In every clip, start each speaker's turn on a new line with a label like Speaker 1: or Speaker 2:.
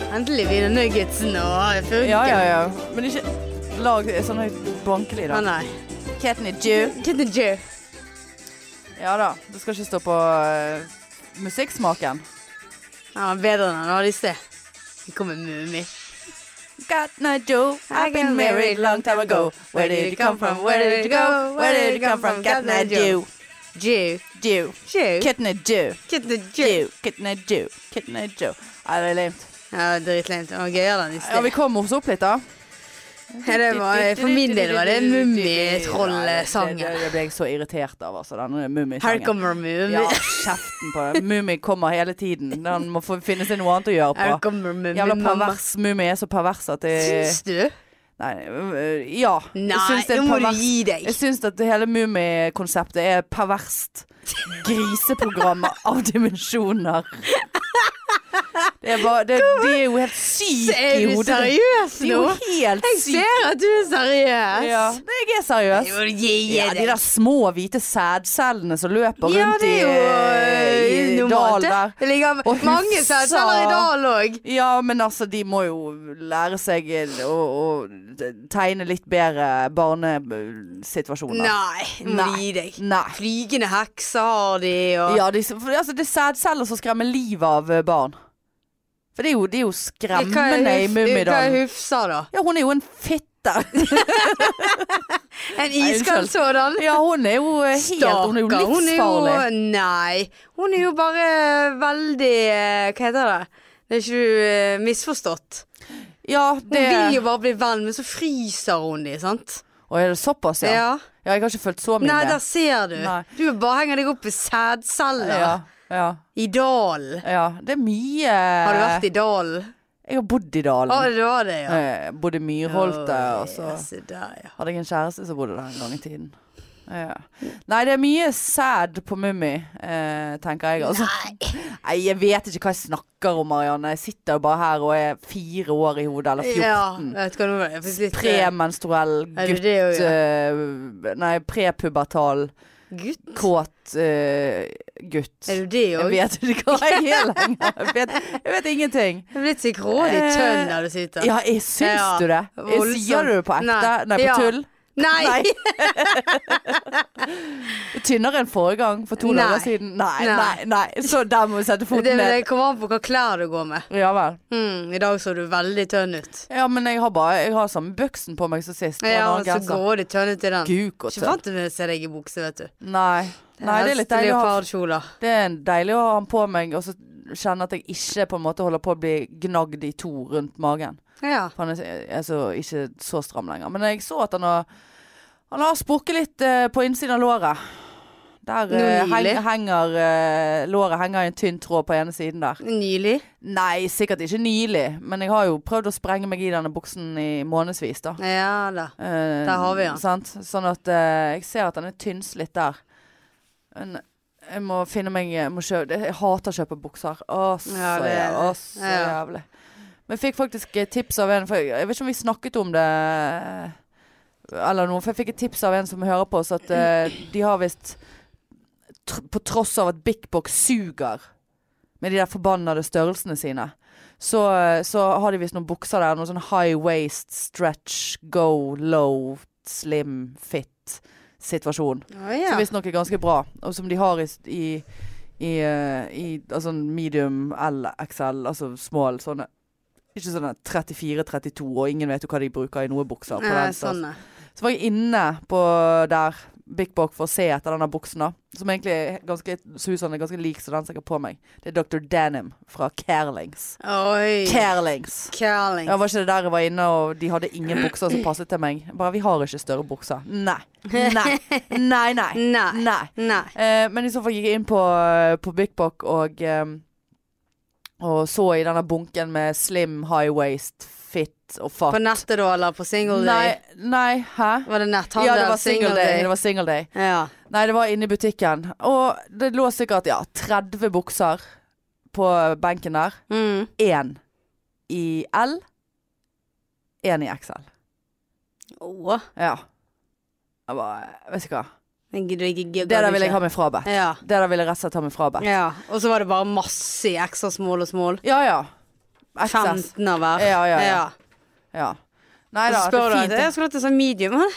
Speaker 1: dine nuggetsene og funker.
Speaker 2: Ja, ja, ja. Men ikke lag sånn høyt bankelyd,
Speaker 1: Å
Speaker 2: da.
Speaker 1: nei.
Speaker 2: Catnip Jew.
Speaker 1: Get the Jew.
Speaker 2: Ja da. Det skal ikke stå på eh, musikksmaken.
Speaker 1: Ja, bedre enn han hadde i sted. Vi kommer Mummi.
Speaker 2: Got no Joe, I've been married long time ago. Where did you come from? Where did you go? Where did you come from? Got no Jew.
Speaker 1: Jew.
Speaker 2: Jew.
Speaker 1: Jew.
Speaker 2: Kitten Jew.
Speaker 1: Get the Jew.
Speaker 2: Jew. Kitten Jew. Kitten Jew. Nei, det er lame.
Speaker 1: Ja, dritlemt. Det var gøyere enn i
Speaker 2: Ja, vi
Speaker 1: sted.
Speaker 2: kom oss opp litt, da.
Speaker 1: Ja, det var, for min del var det
Speaker 2: Nei, det-
Speaker 1: Mummitroll-sangen.
Speaker 2: det- Det ble jeg så irritert av, altså. Den
Speaker 1: Her
Speaker 2: mummisangen.
Speaker 1: kommer Mummi.
Speaker 2: Ja, kjeften på det. Mummi kommer hele tiden. Den må få finne seg noe annet å
Speaker 1: Her
Speaker 2: gjøre på.
Speaker 1: kommer Mummi.
Speaker 2: Jævla
Speaker 1: mamma.
Speaker 2: pervers. eh, Mummi er så pervers at det
Speaker 1: Syns du?
Speaker 2: Nei, øh, ja.
Speaker 1: Nei,
Speaker 2: jeg syns det er
Speaker 1: nå må du
Speaker 2: pervers.
Speaker 1: gi deg.
Speaker 2: Jeg syns at det hele Mummi-konseptet er perverst. Griseprogrammet av dimensjoner. Det er bare, det, de er jo helt syke
Speaker 1: Er
Speaker 2: i
Speaker 1: du
Speaker 2: hodet.
Speaker 1: seriøs
Speaker 2: De er
Speaker 1: nå?
Speaker 2: jo helt
Speaker 1: Jeg
Speaker 2: syke.
Speaker 1: ser at du er seriøs.
Speaker 2: Ja, nei, jeg er seriøs.
Speaker 1: Jo, gi
Speaker 2: Ja, de
Speaker 1: deg.
Speaker 2: der små hvite sædcellene som løper
Speaker 1: Ja,
Speaker 2: rundt
Speaker 1: det er jo
Speaker 2: i, i,
Speaker 1: eh,
Speaker 2: i dal
Speaker 1: normalt. det.
Speaker 2: der.
Speaker 1: Det ligger
Speaker 2: Og
Speaker 1: mange
Speaker 2: husa.
Speaker 1: sædceller i dal òg.
Speaker 2: Ja, men altså, de må jo lære seg eh, å, å tegne litt bedre barnesituasjoner.
Speaker 1: Nei, nå må du
Speaker 2: Nei.
Speaker 1: gi deg.
Speaker 2: Nei.
Speaker 1: Flygende hekser har de, og
Speaker 2: Ja, de, for, altså, det er sædceller som skremmer livet av eh, barn. For det er jo, det er jo skremmende
Speaker 1: Hva
Speaker 2: i
Speaker 1: er
Speaker 2: Mummidalen.
Speaker 1: Hufsa, da?
Speaker 2: Ja, hun er jo en fitte.
Speaker 1: En
Speaker 2: unnskyld.
Speaker 1: iskald sådan?
Speaker 2: Ja, hun er jo eh, helt Hun er jo
Speaker 1: Stakkar, hun er jo-
Speaker 2: livsfarlig.
Speaker 1: Nei. Hun er jo bare veldig eh, Hva heter det? Det er ikke du eh, misforstått.
Speaker 2: Ja,
Speaker 1: Hun
Speaker 2: det
Speaker 1: vil jo bare bli venn, men så fryser hun de, sant?
Speaker 2: Å, er det såpass,
Speaker 1: Ja.
Speaker 2: ja? Ja, jeg har ikke fulgt så mye
Speaker 1: Nei,
Speaker 2: med.
Speaker 1: der ser du.
Speaker 2: Nei.
Speaker 1: Du bare henger deg opp i sædceller
Speaker 2: ja, ja,
Speaker 1: i dalen.
Speaker 2: ja. Det er mye
Speaker 1: Har du
Speaker 2: Eh,
Speaker 1: vært i dalen?
Speaker 2: Jeg har bodd i
Speaker 1: Å,
Speaker 2: Dalen.
Speaker 1: det var det, ja.
Speaker 2: Eh, bodde i Myrholte, og så
Speaker 1: Å, se der, ja.
Speaker 2: hadde jeg en kjæreste som bodde der en gang i tiden. Ja. Nei, det er mye sæd på Mummi, eh, tenker jeg. Altså.
Speaker 1: Nei.
Speaker 2: Nei, jeg vet ikke hva jeg snakker om, Marianne. Jeg sitter jo bare her og er fire år i hodet, eller
Speaker 1: Ja,
Speaker 2: 14.
Speaker 1: vet du hva nå var det? Jeg fikk litt eh,
Speaker 2: Premenstruell
Speaker 1: Er det
Speaker 2: gutt
Speaker 1: det også, ja?
Speaker 2: eh, Nei, prepubertal
Speaker 1: Gutt?
Speaker 2: kåt eh, gutt.
Speaker 1: Er du det
Speaker 2: Jeg
Speaker 1: òg?
Speaker 2: vet ikke hva jeg er lenger. Jeg vet, jeg vet ingenting.
Speaker 1: Jeg blir litt sikkrådig
Speaker 2: Eh,
Speaker 1: tønn der du sitter.
Speaker 2: Ja, jeg syns
Speaker 1: Ja,
Speaker 2: du det? Jeg
Speaker 1: voldsomt.
Speaker 2: sier du det på ekte?
Speaker 1: Nei.
Speaker 2: Nei, på
Speaker 1: Ja.
Speaker 2: tull?
Speaker 1: Nei!
Speaker 2: Tynnere enn forrige gang, for to
Speaker 1: Nei.
Speaker 2: dager siden? Nei,
Speaker 1: Nei.
Speaker 2: nei, nei. Så der må vi sette
Speaker 1: Det,
Speaker 2: foten
Speaker 1: det
Speaker 2: ned.
Speaker 1: kommer an på hva klær du går med.
Speaker 2: Ja vel.
Speaker 1: Mm, I dag så du veldig tønn ut.
Speaker 2: Ja, men jeg har bare Jeg har samme buksen på meg som sist. og en
Speaker 1: Ja,
Speaker 2: annen
Speaker 1: så
Speaker 2: genser.
Speaker 1: går det tønn ut i den.
Speaker 2: Guk og
Speaker 1: Ikke
Speaker 2: tønn.
Speaker 1: vant til å se deg i bukse, vet du.
Speaker 2: Nei. nei, det er litt deilig å ha
Speaker 1: Leopardkjoler.
Speaker 2: Det er en deilig å ha den på meg, og så kjenne at jeg ikke på en måte holder på å bli gnagd i to rundt magen.
Speaker 1: Ja.
Speaker 2: For han er er så, altså, ikke så stram lenger. Men jeg så at han har Han har sprukket litt eh, på innsiden av låret. Der
Speaker 1: Nå
Speaker 2: eh, heng,
Speaker 1: nylig?
Speaker 2: henger eh, Låret henger i en tynn tråd på ene siden der.
Speaker 1: Nylig.
Speaker 2: Nei, sikkert ikke nylig, men jeg har jo prøvd å sprenge meg i denne buksen i månedsvis, da.
Speaker 1: Ja da.
Speaker 2: Eh,
Speaker 1: Der har vi han.
Speaker 2: Sant? Sånn at eh, jeg ser at den er tynnslitt der. Men jeg må finne meg jeg, må kjø jeg hater å kjøpe bukser. Å, så,
Speaker 1: Ja, det-
Speaker 2: jæv- å, så
Speaker 1: ja.
Speaker 2: jævlig. Men jeg fikk faktisk et tips av en for jeg, jeg vet ikke om vi snakket om det eller noe, for jeg fikk et tips av en som hører på oss, at eh, de har visst tr På tross av at Big Box suger med de der forbannede størrelsene sine, så, så har de visst noen bukser der. Noen sånn high waist, stretch, go, low, slim, fit-situasjon.
Speaker 1: Å ja.
Speaker 2: Som visstnok er ganske bra, og som de har i, s- i, i, eh, i altså medium L, XL, altså small sånne. Ikke sånne 34-32, og ingen vet jo hva de bruker i noe bukser. På
Speaker 1: Nei,
Speaker 2: den,
Speaker 1: sånn, ja.
Speaker 2: Så var jeg inne på der, Big Bock, for å se etter denne buksen, da. Som egentlig er ganske, så ut som den er ganske lik som den som jeg har på meg. Det er Dr. Denim fra Carelings.
Speaker 1: Oi.
Speaker 2: Carelings!
Speaker 1: Kærling.
Speaker 2: Ja, var ikke det der jeg var inne, og de hadde ingen bukser som passet til meg? Bare 'vi har ikke større bukser'. Nei. Nei. Nei, nei.
Speaker 1: Nei.
Speaker 2: nei.
Speaker 1: Nei.
Speaker 2: Eh, men i så fall gikk jeg inn på, eh, på Big Bock og, eh, og så i denne bunken med slim, high waist, fit og fuck.
Speaker 1: På nettet da, eller på single
Speaker 2: Nei,
Speaker 1: day?
Speaker 2: nei, hæ?
Speaker 1: Var det netthandel?
Speaker 2: Ja, det var single day. Det
Speaker 1: Ja.
Speaker 2: var single day. Nei, det var inne i butikken. Og det lå sikkert ja, 30 bukser på benken der.
Speaker 1: Mm.
Speaker 2: Én i L, én i XL.
Speaker 1: Åh,
Speaker 2: Ja. Jeg bare, vet ikke hva.
Speaker 1: men gidder ikke- gidder
Speaker 2: Det der vil
Speaker 1: ikke.
Speaker 2: jeg ha meg frabedt.
Speaker 1: Ja.
Speaker 2: Det der vil jeg rett og slett ha meg frabedt.
Speaker 1: ja. Og så var det bare masse i ekstra small og small.
Speaker 2: Ja ja. XS.
Speaker 1: 15 av hver.
Speaker 2: Ja, ja, ja. Ja. Nei da,
Speaker 1: Så spør
Speaker 2: det
Speaker 1: du
Speaker 2: er
Speaker 1: at jeg
Speaker 2: fint.
Speaker 1: skulle hatt en sånn medium. «Hå,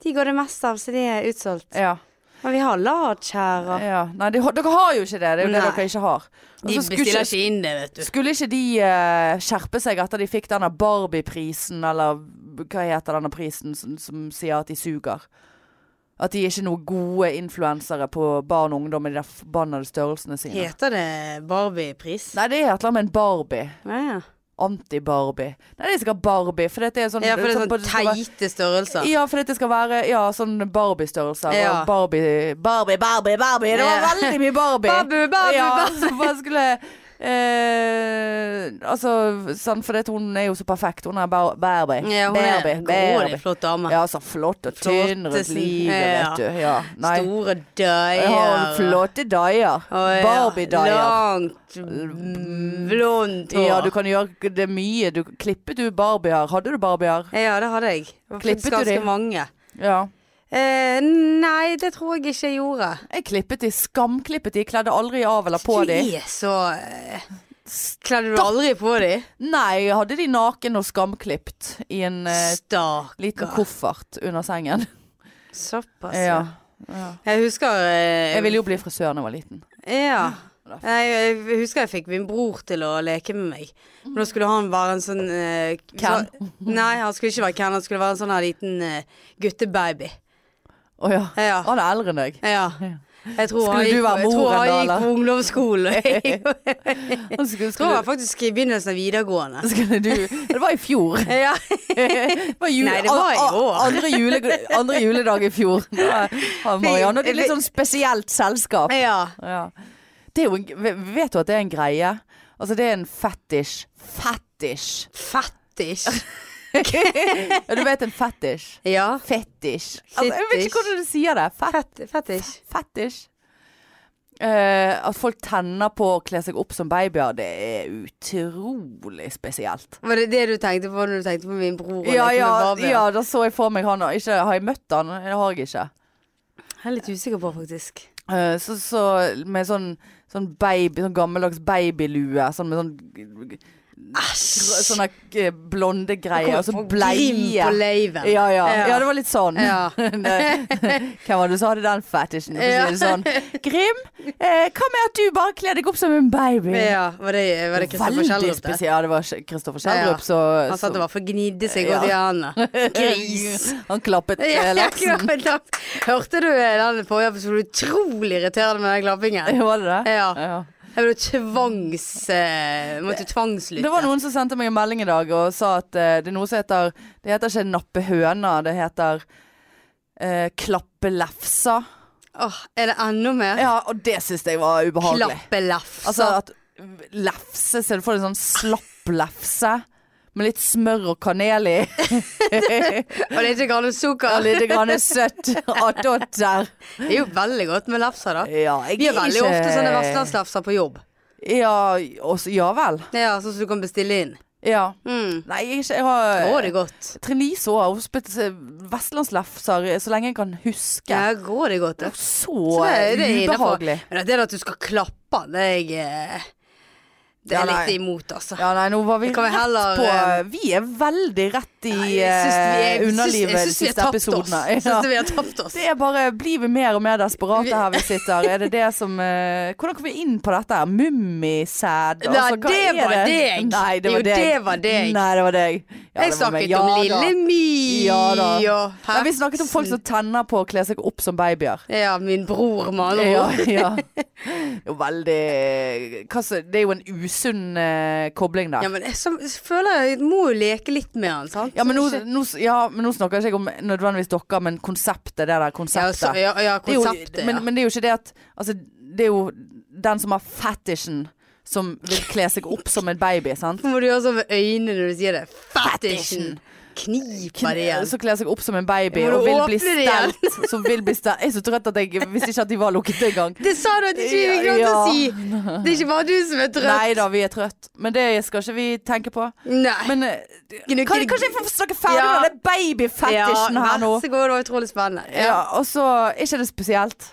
Speaker 1: De går det meste av, så de er utsolgt.
Speaker 2: Ja.
Speaker 1: Men vi har large her. Og...
Speaker 2: ja. Nei, de, har- dere har jo ikke det. Det er jo det
Speaker 1: Nei.
Speaker 2: dere ikke har. Og så skulle ikke-
Speaker 1: ikke inn det, vet
Speaker 2: Skulle ikke de eh, skjerpe seg etter de fikk denne Barbie-prisen, eller hva heter denne prisen som, som sier at de suger? At de er ikke noen gode influensere på barn og ungdom i de der forbannede størrelsene sine.
Speaker 1: Heter det Barbie-pris?
Speaker 2: Nei, det er et eller annet med en Barbie.
Speaker 1: Ja, ja.
Speaker 2: Anti-Barbie. Nei, det er sikkert Barbie, for dette er sånn
Speaker 1: ja, for det er
Speaker 2: på-
Speaker 1: sånn
Speaker 2: skal være-
Speaker 1: teite størrelser.
Speaker 2: Ja, for dette skal være ja, sånn Barbie-størrelser.
Speaker 1: Ja.
Speaker 2: Og Barbie, Barbie, Barbie, Barbie. Det var
Speaker 1: Ja.
Speaker 2: veldig mye Barbie.
Speaker 1: Babu, babu,
Speaker 2: Ja,
Speaker 1: babu.
Speaker 2: så bare skulle eh, Altså, sant, for det, hun er jo så perfekt. Hun er bare Barbie.
Speaker 1: Ja, hun er
Speaker 2: Barbie,
Speaker 1: en grådig,
Speaker 2: Barbie.
Speaker 1: flott dame.
Speaker 2: Ja, så flott og tynn og
Speaker 1: Flottesen.
Speaker 2: glid,
Speaker 1: Ja.
Speaker 2: vet du. Ja. Nei.
Speaker 1: Store
Speaker 2: Jeg har en
Speaker 1: døyer.
Speaker 2: flotte dyer. Barbie-dyer.
Speaker 1: Langt, mm, blondt hår.
Speaker 2: Ja, du kan gjøre det mye. Du, klippet du Barbie-her? Hadde du Barbie-her?
Speaker 1: Ja, det hadde jeg. Det var
Speaker 2: Klippet
Speaker 1: faktisk
Speaker 2: du
Speaker 1: ganske
Speaker 2: de?
Speaker 1: mange.
Speaker 2: Ja.
Speaker 1: Eh, nei, det tror jeg ikke jeg gjorde.
Speaker 2: Jeg klippet de, skamklippet de. Kledde aldri av eller på de.
Speaker 1: Du er så eh, Kledde du aldri på de?
Speaker 2: Nei, jeg hadde de naken og skamklipt i en eh, liten
Speaker 1: Stakkar.
Speaker 2: koffert under sengen.
Speaker 1: Såpass, ja.
Speaker 2: Ja. ja.
Speaker 1: Jeg husker eh,
Speaker 2: Jeg ville jo bli frisør da jeg var liten.
Speaker 1: Ja.
Speaker 2: Ah,
Speaker 1: Jeg, jeg husker jeg fikk min bror til å leke med meg. Men da skulle han være en sånn eh,
Speaker 2: Ken?
Speaker 1: så- nei, han skulle ikke være Ken. Han skulle være en sånn her liten eh, guttebaby.
Speaker 2: Å ja.
Speaker 1: Ja.
Speaker 2: Han er eldre enn deg.
Speaker 1: ja. Jeg tror
Speaker 2: Skulle
Speaker 1: han gikk,
Speaker 2: du være
Speaker 1: jeg tror
Speaker 2: moren
Speaker 1: han
Speaker 2: da,
Speaker 1: gikk
Speaker 2: eller?
Speaker 1: på ungdomsskolen. jeg
Speaker 2: Han Skulle,
Speaker 1: tror jeg
Speaker 2: skulle,
Speaker 1: faktisk i begynnelsen av videregående.
Speaker 2: skulle du Det var i fjor.
Speaker 1: Ja.
Speaker 2: Det var jul,
Speaker 1: Nei, det var i
Speaker 2: a- a-
Speaker 1: år.
Speaker 2: Andre, jule, andre juledag i fjor. Da har Marianne og det er litt sånn spesielt selskap.
Speaker 1: ja.
Speaker 2: Ja. Det er jo en, v- vet du at det er en greie? Altså, det er en fetisj. Fetisj.
Speaker 1: Fettisj.
Speaker 2: Ja, du vet en fetisj?
Speaker 1: Ja.
Speaker 2: Fetisj. Altså, jeg vet ikke
Speaker 1: Fetisj.
Speaker 2: hvordan du sier det. Fet
Speaker 1: Fett, fettisj.
Speaker 2: fetisj. Eh, at folk tenner på å kle seg opp som babyer, det er utrolig spesielt.
Speaker 1: Var det det du tenkte på når du tenkte på min bror? og
Speaker 2: Ja,
Speaker 1: leke med
Speaker 2: ja,
Speaker 1: Barbie?
Speaker 2: ja, da så jeg for meg han. og Ikke, har jeg møtt han? Det har jeg ikke.
Speaker 1: Jeg er litt usikker på, faktisk.
Speaker 2: Eh, så, så med sånn, sånn, baby, sånn gammeldags babylue, sånn med sånn
Speaker 1: Æsj!
Speaker 2: Sånne eh, blonde greier, og så
Speaker 1: Grim
Speaker 2: altså, bleie.
Speaker 1: på leiven.
Speaker 2: Ja, ja.
Speaker 1: Ja.
Speaker 2: ja, det var litt sånn.
Speaker 1: Ja.
Speaker 2: Det- Hvem var det som hadde den fetisjen? For å si det sånn. Grim, eh, hva med at du bare kler deg opp som en baby?
Speaker 1: ja. Var det, var det Kristoffer
Speaker 2: Veldig
Speaker 1: Schjelderup? det?
Speaker 2: spesielt. Ja, det var Kristoffer
Speaker 1: Ja.
Speaker 2: Schjelderup, så
Speaker 1: Han satt og i hvert fall gnidde seg
Speaker 2: Ja.
Speaker 1: godt i hendene. Gris.
Speaker 2: Han klappet
Speaker 1: Ja,
Speaker 2: eh,
Speaker 1: ja,
Speaker 2: laksen.
Speaker 1: klapp. Hørte du den forrige episoden? Utrolig irriterende med den klappingen.
Speaker 2: Var det det?
Speaker 1: Ja.
Speaker 2: ja.
Speaker 1: Jeg ble tvangs... eh, måtte tvangslytte.
Speaker 2: Det var noen som sendte meg en melding i dag og sa at eh, det er noe som heter Det heter ikke nappe høna, det heter eh, klappe lefsa.
Speaker 1: Åh, er det enda mer?
Speaker 2: Ja, og det syns jeg var ubehagelig.
Speaker 1: Klappelafs.
Speaker 2: Altså at lefse, ser du for deg sånn slapp lefse med litt smør og kanel i.
Speaker 1: og det er ikke grann
Speaker 2: Og
Speaker 1: sukker.
Speaker 2: litt grann søtt attåt der.
Speaker 1: Det er jo veldig godt med lafser, da.
Speaker 2: Ja, jeg
Speaker 1: Vi har
Speaker 2: er
Speaker 1: veldig
Speaker 2: ikke-
Speaker 1: ofte sånne vestlandslafser på jobb.
Speaker 2: Ja, også, ja vel.
Speaker 1: Ja, Sånn som du kan bestille inn.
Speaker 2: Ja.
Speaker 1: Mm.
Speaker 2: Nei, jeg, er ikke, jeg
Speaker 1: Å,
Speaker 2: har
Speaker 1: det er godt.
Speaker 2: Trine Lise også, hun spilte vestlandslefser eh, så lenge jeg kan huske.
Speaker 1: Ja, går det godt, det.
Speaker 2: Så,
Speaker 1: Så det- det er innenfor.
Speaker 2: ubehagelig.
Speaker 1: Men det er at du skal klappe han, det er jeg eh, Det
Speaker 2: Ja,
Speaker 1: er
Speaker 2: nei.
Speaker 1: litt imot, altså.
Speaker 2: Ja, nei, nå var vi
Speaker 1: Det kan vi
Speaker 2: rett
Speaker 1: heller,
Speaker 2: på
Speaker 1: eh,
Speaker 2: Vi er veldig rett i
Speaker 1: Nei, jeg syns vi-
Speaker 2: eh,
Speaker 1: jeg syns- jeg syns vi
Speaker 2: underlivet de
Speaker 1: har
Speaker 2: siste
Speaker 1: tapt oss.
Speaker 2: episodene.
Speaker 1: Jeg
Speaker 2: Ja.
Speaker 1: syns vi har tapt oss.
Speaker 2: Det er bare, blir vi mer og mer desperate
Speaker 1: Vi-
Speaker 2: her vi sitter? Er det det som eh, Hvordan kom vi inn på dette? her?
Speaker 1: Nei,
Speaker 2: Mummisæd?
Speaker 1: det var deg.
Speaker 2: Nei, det
Speaker 1: Jo,
Speaker 2: var deg.
Speaker 1: det var deg.
Speaker 2: Nei, det var deg. Ja,
Speaker 1: jeg
Speaker 2: det var
Speaker 1: snakket
Speaker 2: meg. Ja
Speaker 1: om
Speaker 2: da.
Speaker 1: Lille My
Speaker 2: Ja da.
Speaker 1: og
Speaker 2: Nei, vi snakket om folk som tenner på å kle seg opp som babyer.
Speaker 1: Ja, min bror, med andre
Speaker 2: Ja,
Speaker 1: ord.
Speaker 2: ja. Jo, veldig hva så- Det er jo en usunn eh, kobling der.
Speaker 1: Ja, men jeg, så, så føler jeg jeg må jo leke litt med han, sant?
Speaker 2: Ja men, nå,
Speaker 1: Ikke-
Speaker 2: nå, ja, men nå snakker jeg ikke om nødvendigvis dere, men konseptet. Det der
Speaker 1: ja,
Speaker 2: konseptet.
Speaker 1: så, ja, ja,
Speaker 2: Det er jo-
Speaker 1: konseptet, ja.
Speaker 2: men, men det er jo ikke det at altså, Det er jo den som har fetishen som vil kle seg opp som en baby, sant?
Speaker 1: Nå må du gjøre sånn med øynene når du sier det. Fetishen!
Speaker 2: Fetishen.
Speaker 1: Kniper det igjen.
Speaker 2: Som kler seg opp som en baby
Speaker 1: Må du
Speaker 2: og vil bli
Speaker 1: åpne det igjen?
Speaker 2: stelt. Som vil bli stelt. Jeg er så trøtt at jeg visste ikke at de var lukket engang.
Speaker 1: Det sa du at ikke vi fikk lov til å
Speaker 2: Ja.
Speaker 1: si! Det er ikke bare du som er trøtt.
Speaker 2: Nei da, vi er trøtt. Men det skal ikke vi tenke på.
Speaker 1: Nei.
Speaker 2: Men eh,
Speaker 1: Gnu-
Speaker 2: kan,
Speaker 1: gnu-
Speaker 2: kanskje jeg får snakke ferdig
Speaker 1: Ja.
Speaker 2: med den babyfetishen her nå?
Speaker 1: vær så god, det var utrolig spennende.
Speaker 2: Ja, og så Er ikke det spesielt?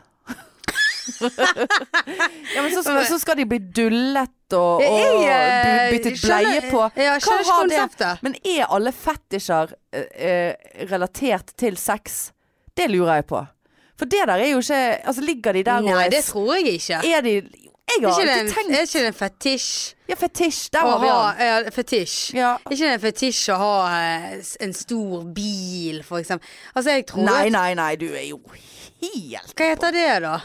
Speaker 2: ja, men så, så skal de bli dullet fett og,
Speaker 1: Jeg,
Speaker 2: og
Speaker 1: eh,
Speaker 2: by- byttet bleie
Speaker 1: skjønner-
Speaker 2: på.
Speaker 1: Ja, skjønner
Speaker 2: Hva
Speaker 1: ikke
Speaker 2: har det?
Speaker 1: konseptet.
Speaker 2: Men er alle fetisjer eh, eh, relatert til sex? Det lurer jeg på. For det der er jo ikke Altså, ligger de der
Speaker 1: Nei,
Speaker 2: og
Speaker 1: det tror jeg ikke.
Speaker 2: Er de Jeg
Speaker 1: Er
Speaker 2: har
Speaker 1: ikke det
Speaker 2: alltid
Speaker 1: en,
Speaker 2: tenkt
Speaker 1: er ikke det en fetisj
Speaker 2: Ja, fetisj. Der
Speaker 1: å
Speaker 2: har vi
Speaker 1: ha
Speaker 2: den.
Speaker 1: ja, fetisj?
Speaker 2: Ja.
Speaker 1: Er ikke det en fetisj å ha eh, s- en stor bil, for eksempel? Altså, jeg tror
Speaker 2: Nei,
Speaker 1: at-
Speaker 2: nei, nei, du er jo helt
Speaker 1: Hva heter det, da?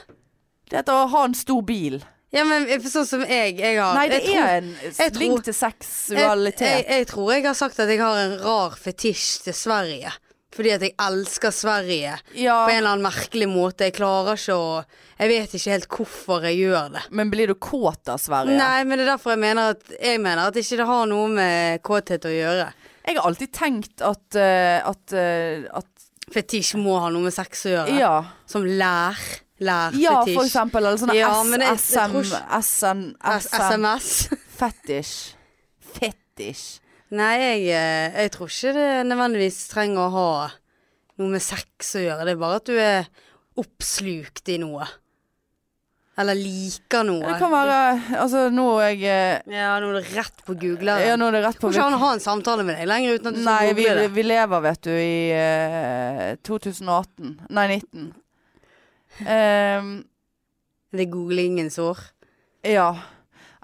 Speaker 2: Det heter å ha en stor bil.
Speaker 1: Ja, men eh, for sånn som jeg, jeg har
Speaker 2: Nei, det
Speaker 1: jeg tror-
Speaker 2: er en
Speaker 1: jeg tror-
Speaker 2: link til
Speaker 1: Jeg,
Speaker 2: seksualitet.
Speaker 1: jeg, jeg tror jeg har sagt at jeg har en rar fetisj til Sverige. Fordi at jeg elsker Sverige på en
Speaker 2: Ja,
Speaker 1: eller annen merkelig måte. Jeg klarer ikke å Jeg vet ikke helt hvorfor jeg gjør det.
Speaker 2: men blir du kåt av Sverige?
Speaker 1: Nei, men det er derfor jeg mener at Jeg mener at ikke det har noe med kåthet å gjøre.
Speaker 2: Jeg har alltid tenkt at, eh, at, eh, at
Speaker 1: Fetisj må ha noe med sex å gjøre.
Speaker 2: Ja.
Speaker 1: Som lær. Lærfetisj.
Speaker 2: Ja, for eksempel. Eller sånne
Speaker 1: Ja,
Speaker 2: S-
Speaker 1: men jeg- jeg
Speaker 2: SM,
Speaker 1: tror ikke-
Speaker 2: SN,
Speaker 1: S-
Speaker 2: SM
Speaker 1: SMS.
Speaker 2: Fetisj. Fetisj.
Speaker 1: Nei, jeg, eh, jeg tror ikke det nødvendigvis trenger å ha noe med sex å gjøre. Det er bare at du er oppslukt i noe. Eller liker noe.
Speaker 2: Det kan være Altså, nå er jeg eh,
Speaker 1: Ja, nå er det rett på Google.
Speaker 2: Ja,
Speaker 1: Jeg
Speaker 2: nå er det rett på
Speaker 1: tror ikke han har en samtale med deg lenger uten at du
Speaker 2: Nei,
Speaker 1: skal
Speaker 2: vi,
Speaker 1: google det.
Speaker 2: vi lever, vet du, i eh, 2018. Nei, 19. Ehm,
Speaker 1: Det er googlingens år.
Speaker 2: ja.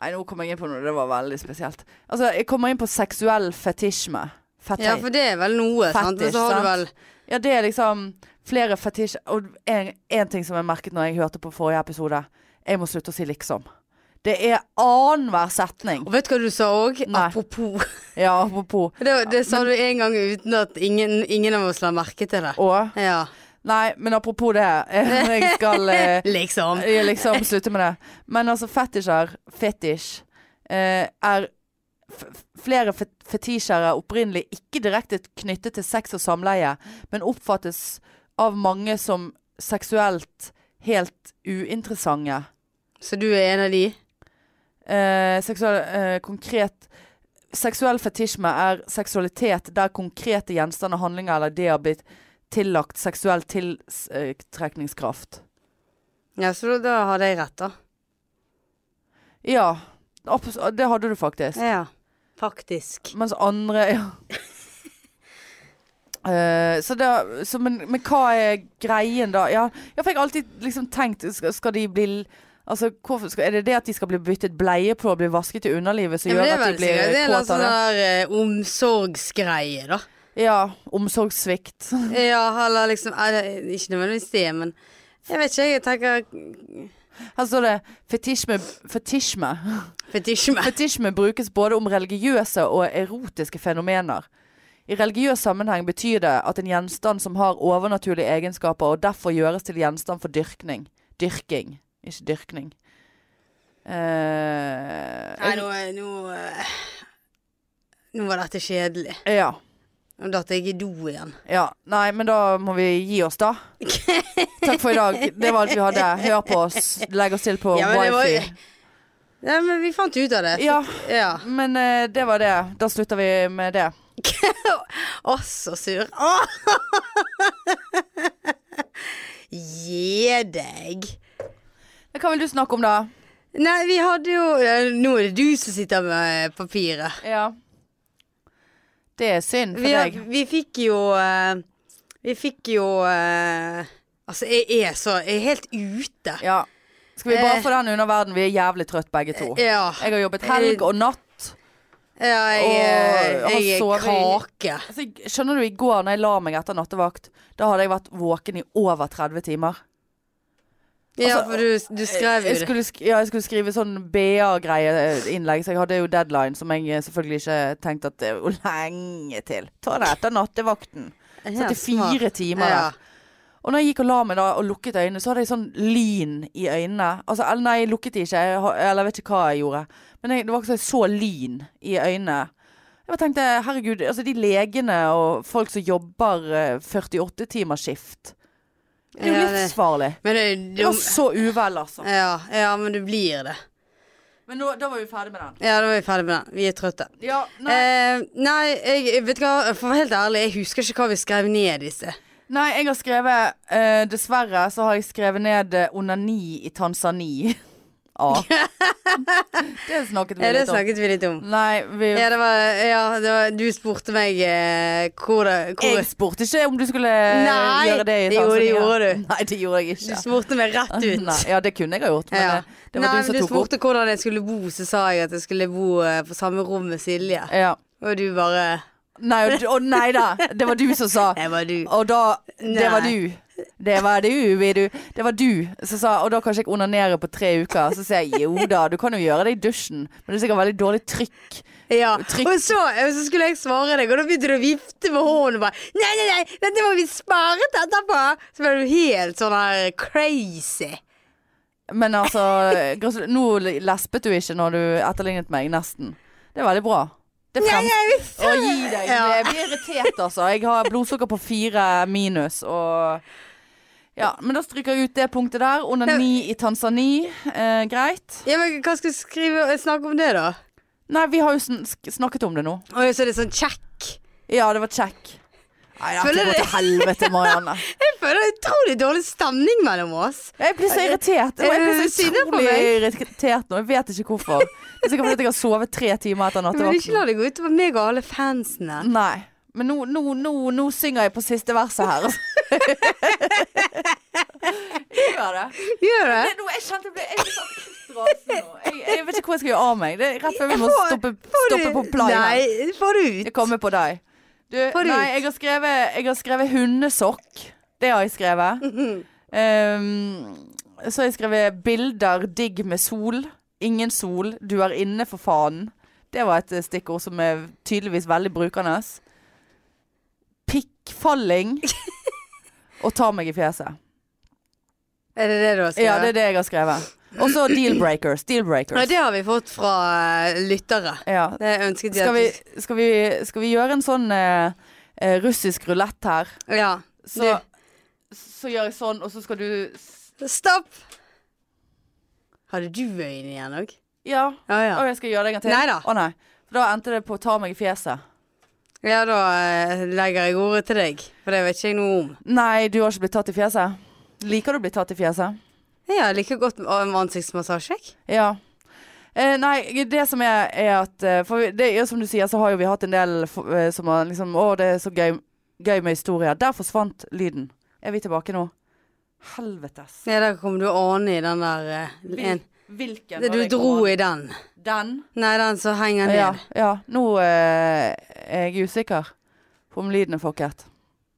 Speaker 2: Nei, nå kom jeg inn på noe. Det var veldig spesielt. Altså, jeg kommer inn på seksuell fetisjme. Fetisj.
Speaker 1: Ja, for det er vel noe, sant. Men
Speaker 2: Fetisj,
Speaker 1: så har du vel
Speaker 2: sant? Ja, det er liksom flere fetisj Og en, en ting som jeg merket når jeg hørte på forrige episode Jeg må slutte å si liksom Det er annenhver setning
Speaker 1: Og vet du hva du sa òg?
Speaker 2: Nei.
Speaker 1: Apropos.
Speaker 2: Ja, apropos
Speaker 1: Det, var- det sa du en gang uten at ingen, ingen av oss la merke til det.
Speaker 2: Og,
Speaker 1: Ja.
Speaker 2: nei, men apropos det Jeg skal eh,
Speaker 1: Liksom.
Speaker 2: jeg liksom slutte med det Men altså fetisjer, fetisj eh, Er f- f- flere fe- fetisjer er opprinnelig ikke direkte knyttet til sex og samleie Men oppfattes av mange som seksuelt helt uinteressante
Speaker 1: Så du er en av de?
Speaker 2: Eh, seksual, eh, konkret Seksuell fetisjme er seksualitet der konkrete gjenstander, handlinger eller ideer har blitt tillagt seksuell tiltrekningskraft.
Speaker 1: Ja, så da- da hadde jeg rett, da.
Speaker 2: Ja, abs- det hadde du faktisk.
Speaker 1: Ja. Faktisk.
Speaker 2: Mens andre ja. Eh, så det, så men, men hva er greien da? Ja, ja, for jeg har alltid liksom tenkt Skal, skal de bli Altså, hvorfor, skal, Er det det at de skal bli byttet bleie på og bli vasket i underlivet som
Speaker 1: Ja, men det er
Speaker 2: gjør at de
Speaker 1: vel
Speaker 2: blir
Speaker 1: sikkert det er en
Speaker 2: kåte
Speaker 1: sånn
Speaker 2: av det?
Speaker 1: der eh, omsorgsgreie, da.
Speaker 2: Ja. Omsorgssvikt.
Speaker 1: Ja, eller liksom eh, det er Ikke nødvendigvis det, men jeg vet ikke, jeg tenker
Speaker 2: Her står det fetisjme, fetisjme.
Speaker 1: fetisjme.
Speaker 2: Fetisjme brukes både om religiøse og erotiske fenomener. I religiøs sammenheng betyr det at en gjenstand som har overnaturlige egenskaper og derfor gjøres til gjenstand for dyrkning. Dyrking, ikke dyrkning.
Speaker 1: Nei,
Speaker 2: Eh,
Speaker 1: nå, nå eh, Nå var dette kjedelig.
Speaker 2: ja.
Speaker 1: Nå datt jeg i do igjen.
Speaker 2: Ja, nei, men da må vi gi oss da Takk for i dag, det var alt vi hadde Hør på oss, legg oss til på
Speaker 1: Ja, men det var-
Speaker 2: wifi
Speaker 1: Ja, men vi fant ut av det.
Speaker 2: Ja,
Speaker 1: Ja.
Speaker 2: men eh, det var det Da slutter vi med det
Speaker 1: Å, så sur. Å! Gi deg.
Speaker 2: Hva vil du snakke om da?
Speaker 1: Nei, vi hadde jo Nå er det du som sitter med papiret.
Speaker 2: Ja. Det er synd for
Speaker 1: Vi, har-
Speaker 2: deg.
Speaker 1: vi fikk jo eh, Vi fikk jo eh, Altså, jeg er så Jeg er helt ute.
Speaker 2: Ja. Skal vi bare
Speaker 1: Eh.
Speaker 2: få den unna verden? Vi er jævlig trøtt begge to. Jeg
Speaker 1: Ja. Eh.
Speaker 2: har jobbet helg og natt.
Speaker 1: ja jeg,
Speaker 2: Åh,
Speaker 1: jeg,
Speaker 2: han
Speaker 1: jeg
Speaker 2: sover
Speaker 1: er
Speaker 2: i-
Speaker 1: kake.
Speaker 2: Altså, jeg- skjønner du, i går når jeg la meg etter nattevakt, da hadde jeg vært våken i over 30 timer.
Speaker 1: Ja,
Speaker 2: Altså,
Speaker 1: for du, du skrev jo
Speaker 2: jeg
Speaker 1: det.
Speaker 2: skulle, sk ja, jeg skulle skrive sånn BA-greieinnlegg, så jeg hadde jo deadline som jeg eh, selvfølgelig ikke tenkte at det var lenge til. Ta det etter nattevakten.
Speaker 1: Ja, smart.
Speaker 2: 74 timer der.
Speaker 1: Ja.
Speaker 2: Og når jeg gikk og la meg da og lukket øynene, så hadde jeg sånn lyn i øynene. Altså, eller nei, jeg lukket de ikke, jeg, har- eller jeg vet ikke hva jeg gjorde. Men jeg, det var ikke så jeg så lyn i øynene. Jeg bare tenkte, herregud, altså de legene og folk som jobber 48-timersskift. Det er jo
Speaker 1: Ja, det-
Speaker 2: livsfarlig.
Speaker 1: Men det,
Speaker 2: Det var
Speaker 1: det,
Speaker 2: så uvel, altså.
Speaker 1: ja, ja, men du blir det.
Speaker 2: Men nå, da var vi ferdig med den.
Speaker 1: Ja, da er vi ferdig med den. Vi er trøtte.
Speaker 2: Ja,
Speaker 1: Nei,
Speaker 2: nei,
Speaker 1: eh, nei jeg, jeg vet du hva, for å være helt ærlig, jeg husker ikke hva vi skrev ned i sted.
Speaker 2: nei, jeg har skrevet, eh, dessverre så har jeg skrevet ned eh, onani i Tanzania. A. Det snakket vi
Speaker 1: Ja, det
Speaker 2: litt om.
Speaker 1: snakket vi litt om.
Speaker 2: Nei, vi
Speaker 1: Ja, det var, ja det var, du spurte meg eh, hvor, det- hvor
Speaker 2: Jeg spurte ikke om du skulle eh,
Speaker 1: Nei,
Speaker 2: gjøre det i
Speaker 1: det gjorde- det
Speaker 2: Tanzania.
Speaker 1: gjorde du.
Speaker 2: Nei, det gjorde jeg
Speaker 1: Du
Speaker 2: ikke.
Speaker 1: spurte meg rett ut.
Speaker 2: Nei, ja, det kunne jeg ha gjort, men
Speaker 1: Ja.
Speaker 2: eh, det var
Speaker 1: Nei,
Speaker 2: du
Speaker 1: men
Speaker 2: som
Speaker 1: du
Speaker 2: tok opp.
Speaker 1: spurte hvordan jeg skulle bo, så sa jeg at jeg skulle bo eh, på samme rom med Silje.
Speaker 2: Ja.
Speaker 1: Og du bare
Speaker 2: Nei, og du- å nei da. Det var du som sa.
Speaker 1: Det var du.
Speaker 2: Og da Det var
Speaker 1: Nei.
Speaker 2: du. Det var du, vi du. Det var du som sa Og da kan ikke jeg onanere på tre uker. Så sier jeg jo da, du kan jo gjøre det i dusjen, men det er sikkert veldig dårlig trykk.
Speaker 1: Ja.
Speaker 2: Trykk.
Speaker 1: Og så, og så skulle jeg svare deg, og da begynte du å vifte med hånden og bare Nei, nei, nei, dette må vi spare til etterpå. Så ble du helt sånn her crazy.
Speaker 2: Men altså, gratul- nå lespet du ikke når du etterlignet meg, nesten. Det er veldig bra. Det
Speaker 1: Nei,
Speaker 2: fremstår
Speaker 1: jeg visste
Speaker 2: Å, gi deg.
Speaker 1: Ja.
Speaker 2: Jeg blir irritert, altså. Jeg har blodsukker på fire minus, og Ja, men da stryker jeg ut det punktet der. Onani i Tanzania. Eh, greit.
Speaker 1: ja, men Hva skal vi skrive, snakke om det, da?
Speaker 2: Nei, vi har jo sn sk- snakket om det nå.
Speaker 1: Å, så er det sånn check.
Speaker 2: Ja, det var check. Nei, det har
Speaker 1: Føler
Speaker 2: ikke gått til helvete, Marianne.
Speaker 1: Jeg føler utrolig dårlig stemning mellom oss.
Speaker 2: Jeg blir så irritert. Jeg
Speaker 1: Er
Speaker 2: blir
Speaker 1: du
Speaker 2: så
Speaker 1: sinnet på
Speaker 2: utrolig irritert nå. Jeg vet ikke hvorfor. Det er sikkert fordi jeg har sovet tre timer etter
Speaker 1: Men ikke la
Speaker 2: nattevakten.
Speaker 1: det gå utover meg og alle fansene.
Speaker 2: Nei. Men nå, nå, nå, nå synger jeg på siste verset her. altså. Gjør det.
Speaker 1: Gjør det?
Speaker 2: Nei, nå, jeg kjente jeg ble jeg ble sånn kuttdrasen nå. Jeg, jeg vet ikke hvor jeg skal gjøre av meg. Det er rett før vi må
Speaker 1: Får-
Speaker 2: stoppe,
Speaker 1: får du-
Speaker 2: stoppe på play. her.
Speaker 1: Nei, får du ut?
Speaker 2: Jeg kommer på deg. Du,
Speaker 1: Får du
Speaker 2: nei,
Speaker 1: ut?
Speaker 2: jeg har skrevet, jeg har skrevet hundesokk. Det har jeg skrevet. Ehm, så har jeg skrevet bilder digg med sol. Ingen sol. Du er inne, for faen. Det var et eh, stikkord som er tydeligvis veldig brukende. Pikkfalling. Og ta meg i fjeset.
Speaker 1: Er det det du har skrevet?
Speaker 2: Ja, det er det jeg har skrevet. Og så deal-breakers.
Speaker 1: Ja,
Speaker 2: Deal-breakers.
Speaker 1: det har vi fått fra eh, lyttere.
Speaker 2: Ja.
Speaker 1: Det ønsket de
Speaker 2: Skal, vi,
Speaker 1: at
Speaker 2: skal, vi, skal vi gjøre en sånn eh, eh, russisk rulett her?
Speaker 1: vi Ja.
Speaker 2: Så, så gjør jeg sånn, og så skal du s-
Speaker 1: Du, stopp! Hadde du øynene igjen òg?
Speaker 2: Ja.
Speaker 1: Ja, ja.
Speaker 2: Å, jeg skal gjøre det en gang til?
Speaker 1: Neida.
Speaker 2: Å, nei. For da endte det på å ta meg i fjeset.
Speaker 1: Ja, da eh, legger jeg ordet til deg, for det vet ikke jeg noe om.
Speaker 2: Nei, du har ikke blitt tatt i fjeset. Liker du å bli tatt i fjeset?
Speaker 1: Ja, jeg liker godt med ansiktsmassasje, jeg.
Speaker 2: Ja. Eh, nei, det som er, er at eh, For vi- det er jo som du sier, så har jo vi hatt en del f- eh, som har liksom Å, det er så gøy, gøy med historier. Der forsvant lyden. Er vi tilbake nå? Helvetes.
Speaker 1: Ja, der kom du ane i den der eh, en.
Speaker 2: Hvilken?
Speaker 1: Du dro i den.
Speaker 2: den?
Speaker 1: Nei, den som henger ned.
Speaker 2: Ja. ja. Nå eh, er jeg usikker på om lyden er fucket.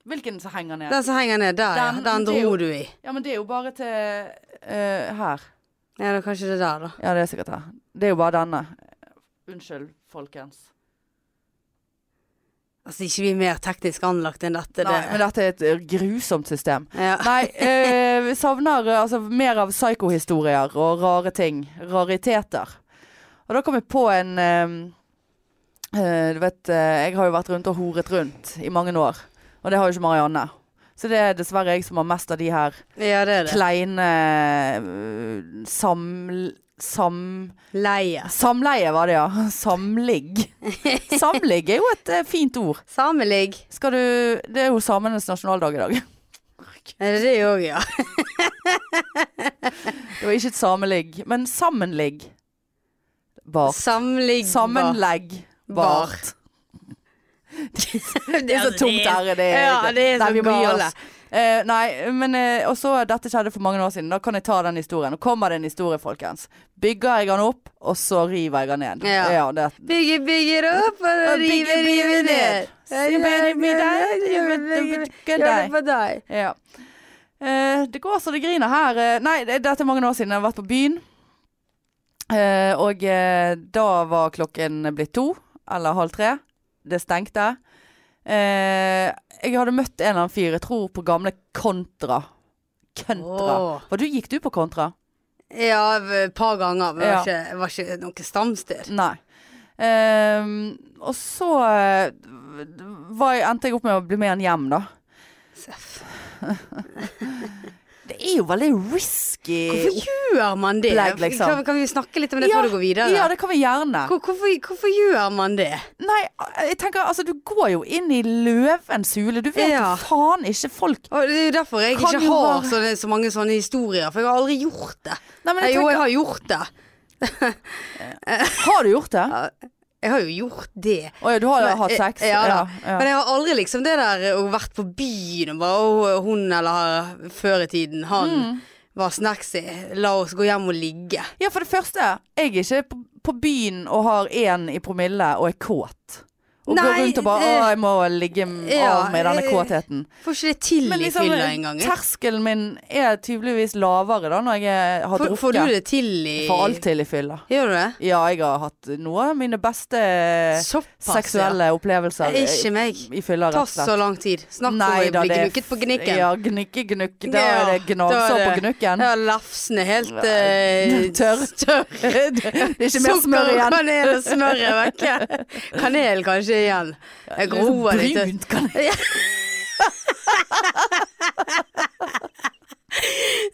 Speaker 2: Hvilken som henger ned?
Speaker 1: Den som henger ned der, ja.
Speaker 2: Den-
Speaker 1: Den
Speaker 2: det er jo-
Speaker 1: dro du i.
Speaker 2: Ja, men det er jo bare til eh, her.
Speaker 1: Ja, det er kanskje det der, da.
Speaker 2: Ja, det er sikkert her. Det er jo bare denne. Unnskyld, folkens.
Speaker 1: Altså, ikke vi er mer teknisk anlagt enn dette.
Speaker 2: Nei,
Speaker 1: det.
Speaker 2: men dette er et eh, grusomt system.
Speaker 1: Ja.
Speaker 2: Nei, eh, vi savner eh, altså, mer av psykohistorier og rare ting. Rariteter. Og da kom jeg på en eh, eh, Du vet, eh, jeg har jo vært rundt og horet rundt i mange år. Og det har jo ikke Marianne. Så det er dessverre jeg som har mest av de her
Speaker 1: ja, det er det.
Speaker 2: kleine eh, sam... sam
Speaker 1: Leie.
Speaker 2: Samleie var det, ja. Samligg. Samligg er jo et eh, fint ord.
Speaker 1: Sameligg.
Speaker 2: Skal du Det er jo samenes nasjonaldag i dag.
Speaker 1: Er det det òg, ja?
Speaker 2: Det var ikke et sameligg, men sammenligg. Bar.
Speaker 1: Samligg.
Speaker 2: Sammenlegg.
Speaker 1: Bar.
Speaker 2: Bart.
Speaker 1: Det
Speaker 2: Det er så tungt ære, det.
Speaker 1: Ja, det er
Speaker 2: Nei,
Speaker 1: så
Speaker 2: vi må gi oss.
Speaker 1: gale.
Speaker 2: Eh, nei, men eh, Og så dette skjedde for mange år siden. Da kan jeg ta den historien. Nå kommer det en historie, folkens. Bygger jeg den opp, og så river jeg den ned.
Speaker 1: Ja.
Speaker 2: det,
Speaker 1: Bygge, bygge det opp og rive, rive ned. Gjør det på deg.
Speaker 2: Ja. Eh, det går så det griner her. Eh, nei, det- dette er mange år siden jeg har vært på byen. Eh, og eh, da var klokken blitt to, eller halv tre. Det stengte. Eh, jeg hadde møtt en eller annen fyr, jeg tror på gamle Kontra. Kontra.
Speaker 1: Åh.
Speaker 2: Hva, du, gikk du på Kontra?
Speaker 1: Ja, et par ganger, men det
Speaker 2: Ja.
Speaker 1: var ikke, var ikke noe stamsted.
Speaker 2: Nei. Ehm, og så eh, var jeg, endte jeg opp med å bli med han hjem, da.
Speaker 1: Seff.
Speaker 2: Det er jo veldig risky.
Speaker 1: Hvorfor gjør man det?
Speaker 2: Legg, liksom.
Speaker 1: kan, kan vi snakke litt om det
Speaker 2: Ja,
Speaker 1: før du går videre?
Speaker 2: Ja, det kan vi gjerne.
Speaker 1: Hvor, hvorfor, hvorfor gjør man det?
Speaker 2: Nei, jeg tenker altså, du går jo inn i løvens hule. Du vet jo
Speaker 1: Ja.
Speaker 2: faen ikke folk
Speaker 1: Og det er jo derfor jeg
Speaker 2: Kan
Speaker 1: ikke
Speaker 2: jo
Speaker 1: har
Speaker 2: være-
Speaker 1: sånne, så mange sånne historier, for jeg har aldri gjort det.
Speaker 2: Nei, men jeg
Speaker 1: Eh, jo, jeg
Speaker 2: tenker,
Speaker 1: har gjort det.
Speaker 2: har du gjort det?
Speaker 1: Ja. Jeg har jo gjort det.
Speaker 2: Å ja, du har
Speaker 1: Men-
Speaker 2: hatt sex?
Speaker 1: Ja, da.
Speaker 2: ja.
Speaker 1: Men jeg har aldri liksom det der eh, og vært på byen og bare «Å, hun eller før i tiden, han
Speaker 2: Mm.
Speaker 1: var snacksy, la oss gå hjem og ligge.
Speaker 2: Ja, for det første, jeg er ikke på, på byen og har én i promille og er kåt. Og går
Speaker 1: Nei,
Speaker 2: rundt og bare
Speaker 1: eh,
Speaker 2: 'Å, jeg må ligge m-
Speaker 1: ja,
Speaker 2: av med denne
Speaker 1: eh,
Speaker 2: kåtheten'.
Speaker 1: Får ikke det til
Speaker 2: Men
Speaker 1: i
Speaker 2: liksom,
Speaker 1: fylla engang. jeg.
Speaker 2: terskelen min er tydeligvis lavere da når jeg har
Speaker 1: Får,
Speaker 2: drukket.
Speaker 1: får du det til i
Speaker 2: For alt til i fylla.
Speaker 1: Gjør du det?
Speaker 2: Ja, jeg har hatt noen av mine beste
Speaker 1: Såpass,
Speaker 2: Eh, seksuelle
Speaker 1: ja.
Speaker 2: opplevelser
Speaker 1: Ikke meg.
Speaker 2: i
Speaker 1: Ta
Speaker 2: fylla, rett og slett.
Speaker 1: så lang tid. Snakk om å
Speaker 2: Nei da,
Speaker 1: bli
Speaker 2: det er
Speaker 1: gnukket på
Speaker 2: f-
Speaker 1: gnikken.
Speaker 2: Ja, gnikke, gnukke. Da
Speaker 1: Ja,
Speaker 2: er det
Speaker 1: da
Speaker 2: gnagsår
Speaker 1: er
Speaker 2: på
Speaker 1: det-
Speaker 2: gnukken.
Speaker 1: Ja, lefsen er helt eh,
Speaker 2: Tørr.
Speaker 1: tørr.
Speaker 2: det er ikke mer
Speaker 1: Sukker
Speaker 2: smør
Speaker 1: og
Speaker 2: igjen.
Speaker 1: kanel og smør er vekke. Kanel kanskje igjen. Jeg
Speaker 2: Det er så
Speaker 1: groer litt.
Speaker 2: Brunt kan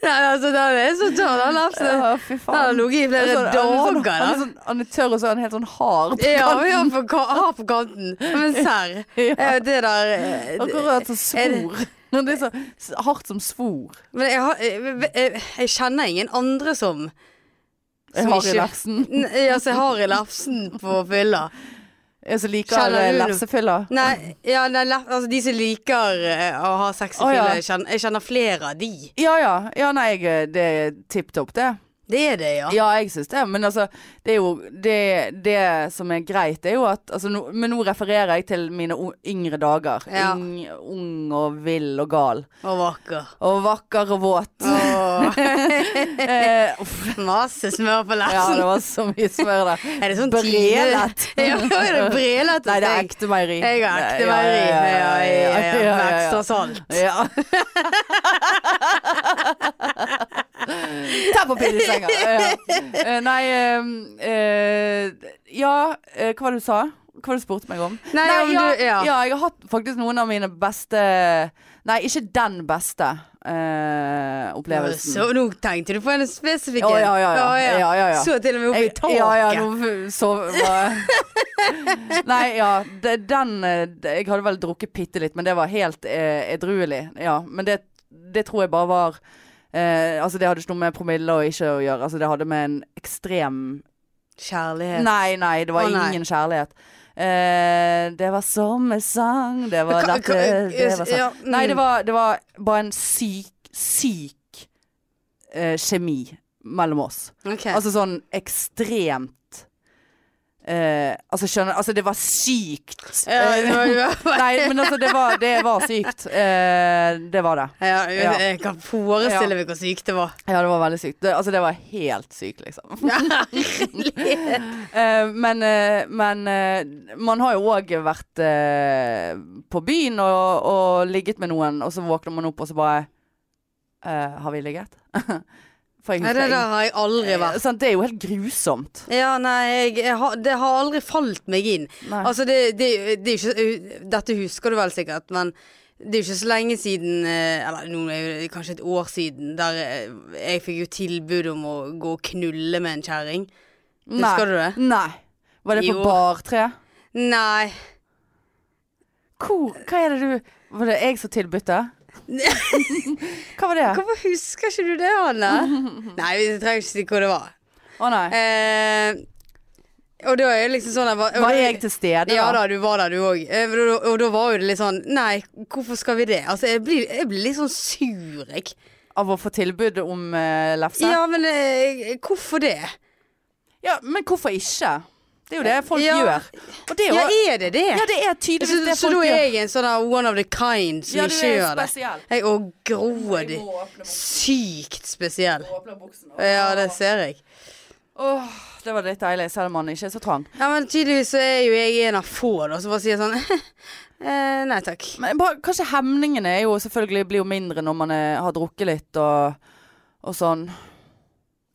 Speaker 1: Nei, altså, den er så tørr, den lefsen.
Speaker 2: Ja, fy
Speaker 1: Den har
Speaker 2: faen.
Speaker 1: ligget i
Speaker 2: Jeg
Speaker 1: flere
Speaker 2: så det, han er
Speaker 1: dager.
Speaker 2: sånn- han, er
Speaker 1: da.
Speaker 2: sånn, han er tørr og så er han helt sånn hard. på
Speaker 1: Ja,
Speaker 2: kanten.
Speaker 1: vi har på, ka- har på kanten. Men serr.
Speaker 2: Ja.
Speaker 1: eh, Det der eh,
Speaker 2: Akkurat som
Speaker 1: Er det-
Speaker 2: svor. Men Det er så s- hardt som svor.
Speaker 1: Men jeg, har, eh, jeg, jeg, jeg kjenner ingen andre som
Speaker 2: Jeg
Speaker 1: Som
Speaker 2: har i
Speaker 1: ikke-
Speaker 2: lefsen.
Speaker 1: N- Altså, jeg har i lefsen på fylla.
Speaker 2: Jeg som liker
Speaker 1: Kjenner
Speaker 2: eh,
Speaker 1: du noe?
Speaker 2: lefsefylla.
Speaker 1: Nei, ja, nei, lef, altså de som liker eh, å ha sex i
Speaker 2: Å,
Speaker 1: fylla,
Speaker 2: ja.
Speaker 1: jeg, kjenner, jeg kjenner flere av de.
Speaker 2: Ja ja. ja nei, jeg, eh, det er tipp topp, det.
Speaker 1: Det er det, ja.
Speaker 2: Ja, jeg syns det. Men altså, det er jo det, det som er greit, det er jo at altså, nå- Men nå refererer jeg til mine o- yngre dager.
Speaker 1: Ja.
Speaker 2: Ung, ung og vill og gal.
Speaker 1: Og vakker.
Speaker 2: Og vakker og våt.
Speaker 1: Og
Speaker 2: Eh, uff,
Speaker 1: masse smør på
Speaker 2: ja,
Speaker 1: lefsen.
Speaker 2: det var så mye smør der.
Speaker 1: er det sånn
Speaker 2: Brelet.
Speaker 1: tine- ja, er det brelet?
Speaker 2: Nei, det er
Speaker 1: jeg-
Speaker 2: ekte meieri.
Speaker 1: Jeg har ekte meieri
Speaker 2: Ja,
Speaker 1: med,
Speaker 2: ja, ja, ja, ja,
Speaker 1: med
Speaker 2: ja,
Speaker 1: ekstra salt.
Speaker 2: ja. Ta på pillesenga. Ja. Eh, Nei eh, eh, Ja, eh, hva var det du sa? Hva var det du spurte meg om?
Speaker 1: Nei, om
Speaker 2: ja,
Speaker 1: du- ja.
Speaker 2: jeg har hatt faktisk noen av mine beste Nei, ikke den beste eh, opplevelsen.
Speaker 1: Så nå tenkte du på en spesifikk
Speaker 2: Å, ja, ja, ja. Ja, ja, ja.
Speaker 1: Så til og med opp i taket.
Speaker 2: Ja, ja, nå f- sov Nei, ja. Det, den eh, det- Jeg hadde vel drukket bitte litt, men det var helt eh, edruelig. Ja, men det, det tror jeg bare var eh, Altså, det hadde ikke noe med promille og ikke å gjøre. Altså, det hadde med en ekstrem
Speaker 1: Kjærlighet.
Speaker 2: Nei, nei, det var
Speaker 1: Å, nei.
Speaker 2: ingen kjærlighet. Eh, det var sommersang, det var
Speaker 1: Ka- ka-
Speaker 2: dette, det var sånn.
Speaker 1: ja, mm.
Speaker 2: Nei, det var, det var bare en syk, syk eh, kjemi mellom oss.
Speaker 1: Ok.
Speaker 2: Altså sånn ekstremt eh, Altså skjønner Altså det var sykt
Speaker 1: ja,
Speaker 2: eh,
Speaker 1: det var, det var,
Speaker 2: Nei, men altså det var, det var sykt Eh, Det var det
Speaker 1: ja,
Speaker 2: Ja.
Speaker 1: jeg kan forestille meg hvor sykt det var.
Speaker 2: Ja, det var veldig sykt det, Altså det var helt sykt liksom Eh, Men, eh, men eh, man har jo også vært eh, på byen og, og ligget med noen Og så våkner man opp og så bare eh, Har vi ligget? For jeg
Speaker 1: Nei, det
Speaker 2: husker
Speaker 1: der har jeg aldri vært.
Speaker 2: Sant, Det er jo helt grusomt
Speaker 1: Ja, nei, jeg, jeg har, det har aldri falt meg inn.
Speaker 2: Nei.
Speaker 1: Altså, det, det, det er jo ikke eh, Dette husker du vel sikkert, men det er jo ikke så lenge siden eh, Eller nå er det jo kanskje et år siden, der eh, jeg fikk jo tilbud om å gå og knulle med en kjerring.
Speaker 2: Nei.
Speaker 1: Husker du det?
Speaker 2: Nei. Var det
Speaker 1: Jo.
Speaker 2: på bartre?
Speaker 1: Nei.
Speaker 2: Hvor? Hva er det du Var det jeg som tilbød det? Hva var det?
Speaker 1: Hvorfor husker ikke du det, Anne? Nei, vi trenger ikke si hvor det var.
Speaker 2: Å nei.
Speaker 1: Eh, og da er det liksom sånn jeg bare-
Speaker 2: Var jeg til stede?
Speaker 1: Ja da, du var der du òg. Eh, Og, da- og da var jo det litt sånn Nei, hvorfor skal vi det? Altså, jeg blir, jeg blir litt sånn sur, jeg.
Speaker 2: Av å få tilbud om eh, lefse?
Speaker 1: Ja, men eh, hvorfor det?
Speaker 2: Ja, Men hvorfor ikke? Det er jo det folk
Speaker 1: Ja.
Speaker 2: gjør. Og det er jo
Speaker 1: Ja,
Speaker 2: ja,
Speaker 1: er det det?
Speaker 2: det er
Speaker 1: så,
Speaker 2: tydeligvis det
Speaker 1: så da
Speaker 2: folk
Speaker 1: er
Speaker 2: gjør.
Speaker 1: jeg en sånn der one of the kind som
Speaker 2: Ja, du
Speaker 1: ikke
Speaker 2: er
Speaker 1: gjør det.
Speaker 2: spesiell.
Speaker 1: Jeg og grådig.
Speaker 2: må åpne buksen.
Speaker 1: Sykt spesiell.
Speaker 2: Åpne buksen.
Speaker 1: Ja, det ser jeg.
Speaker 2: Åh, det var litt deilig, selv om han ikke er så trang.
Speaker 1: Ja, men tydeligvis så er jo jeg en av få da, som bare sier sånn eh, Nei takk.
Speaker 2: Men bare, kanskje hemningene er jo selvfølgelig blir jo mindre når man er, har drukket litt og, og sånn.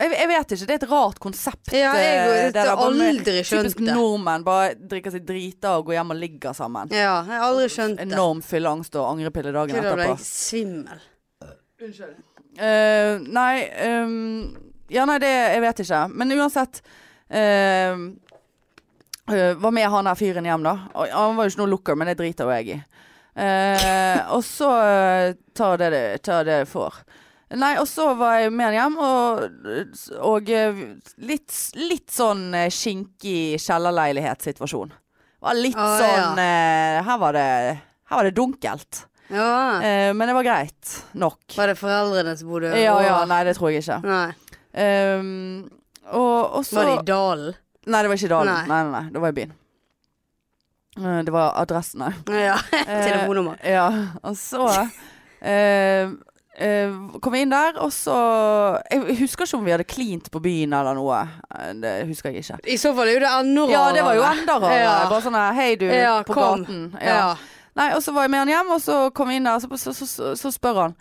Speaker 2: Jeg, jeg vet ikke, det er et rart konsept.
Speaker 1: Ja, jeg
Speaker 2: eh,
Speaker 1: har
Speaker 2: det der, bare med-
Speaker 1: aldri skjønt
Speaker 2: Typisk
Speaker 1: det.
Speaker 2: nordmenn bare drikker seg drita og går hjem og ligger sammen.
Speaker 1: Ja, jeg har aldri skjønt det.
Speaker 2: Enorm fylleangst og angrepille dagen
Speaker 1: Da ble jeg
Speaker 2: etterpå.
Speaker 1: svimmel.
Speaker 2: Eh, nei ehm, Ja, nei, det Jeg vet ikke. Men uansett eh, eh, Var med han her fyren hjem, da. Og, han var jo ikke noe looker, men det driter jo jeg i. Eh, og så eh, tar det det, tar det det får. Nei, og så var jeg med han hjem, og, og eh, litt, litt sånn eh, skinkig kjellerleilighetssituasjon. Var litt
Speaker 1: Å, ja.
Speaker 2: sånn eh, her, var det, her var det dunkelt.
Speaker 1: Ja.
Speaker 2: Eh, men det var greit nok.
Speaker 1: Var det foreldrene som bodde
Speaker 2: Ja, ja,
Speaker 1: over?
Speaker 2: nei, det tror jeg ikke.
Speaker 1: Nei.
Speaker 2: Ehm, og, og så
Speaker 1: Var det i Dalen?
Speaker 2: Nei, det var ikke i Dalen.
Speaker 1: Nei.
Speaker 2: Nei. Nei, nei, det var i byen. Eh, Det var adressen, nei.
Speaker 1: Ja.
Speaker 2: Eh,
Speaker 1: Telefonnummer.
Speaker 2: Ja, og så eh, eh, kom vi inn der, og så Jeg husker ikke om vi hadde klint på byen eller noe. Eh, Det husker jeg ikke.
Speaker 1: I så fall er jo det enda
Speaker 2: Ja, det var jo enda rarere.
Speaker 1: Ja.
Speaker 2: Bare sånn her, hei du,
Speaker 1: Ja,
Speaker 2: på
Speaker 1: kom.
Speaker 2: gaten. Ja.
Speaker 1: Ja.
Speaker 2: Nei, og så var jeg med han hjem, og så kom vi inn der, så, så, så, så, så spør han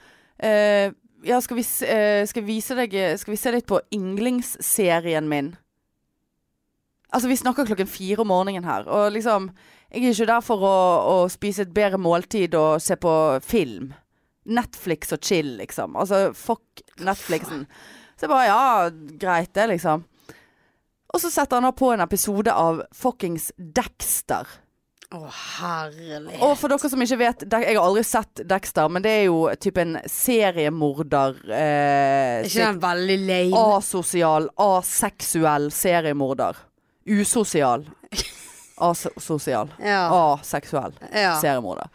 Speaker 2: eh, Ja, skal vi, s- eh, skal, vi vise deg, skal vi se litt på yndlingsserien min? Altså, vi snakker klokken fire om morgenen her, og liksom Jeg er ikke der for å, å spise et bedre måltid og se på film. Netflix og chill, liksom. Altså, fuck Netflixen. Så jeg bare Ja, greit det, liksom. Og så setter han da på en episode av fuckings Dexter.
Speaker 1: Å, herlig.
Speaker 2: Og for dere som ikke vet, De- jeg har aldri sett Dexter, men det er jo typ en seriemorder eh,
Speaker 1: Er ikke den veldig lame?
Speaker 2: Asosial, aseksuell seriemorder. Usosial. Asosial.
Speaker 1: Ja.
Speaker 2: Aseksuell
Speaker 1: ja.
Speaker 2: seriemorder.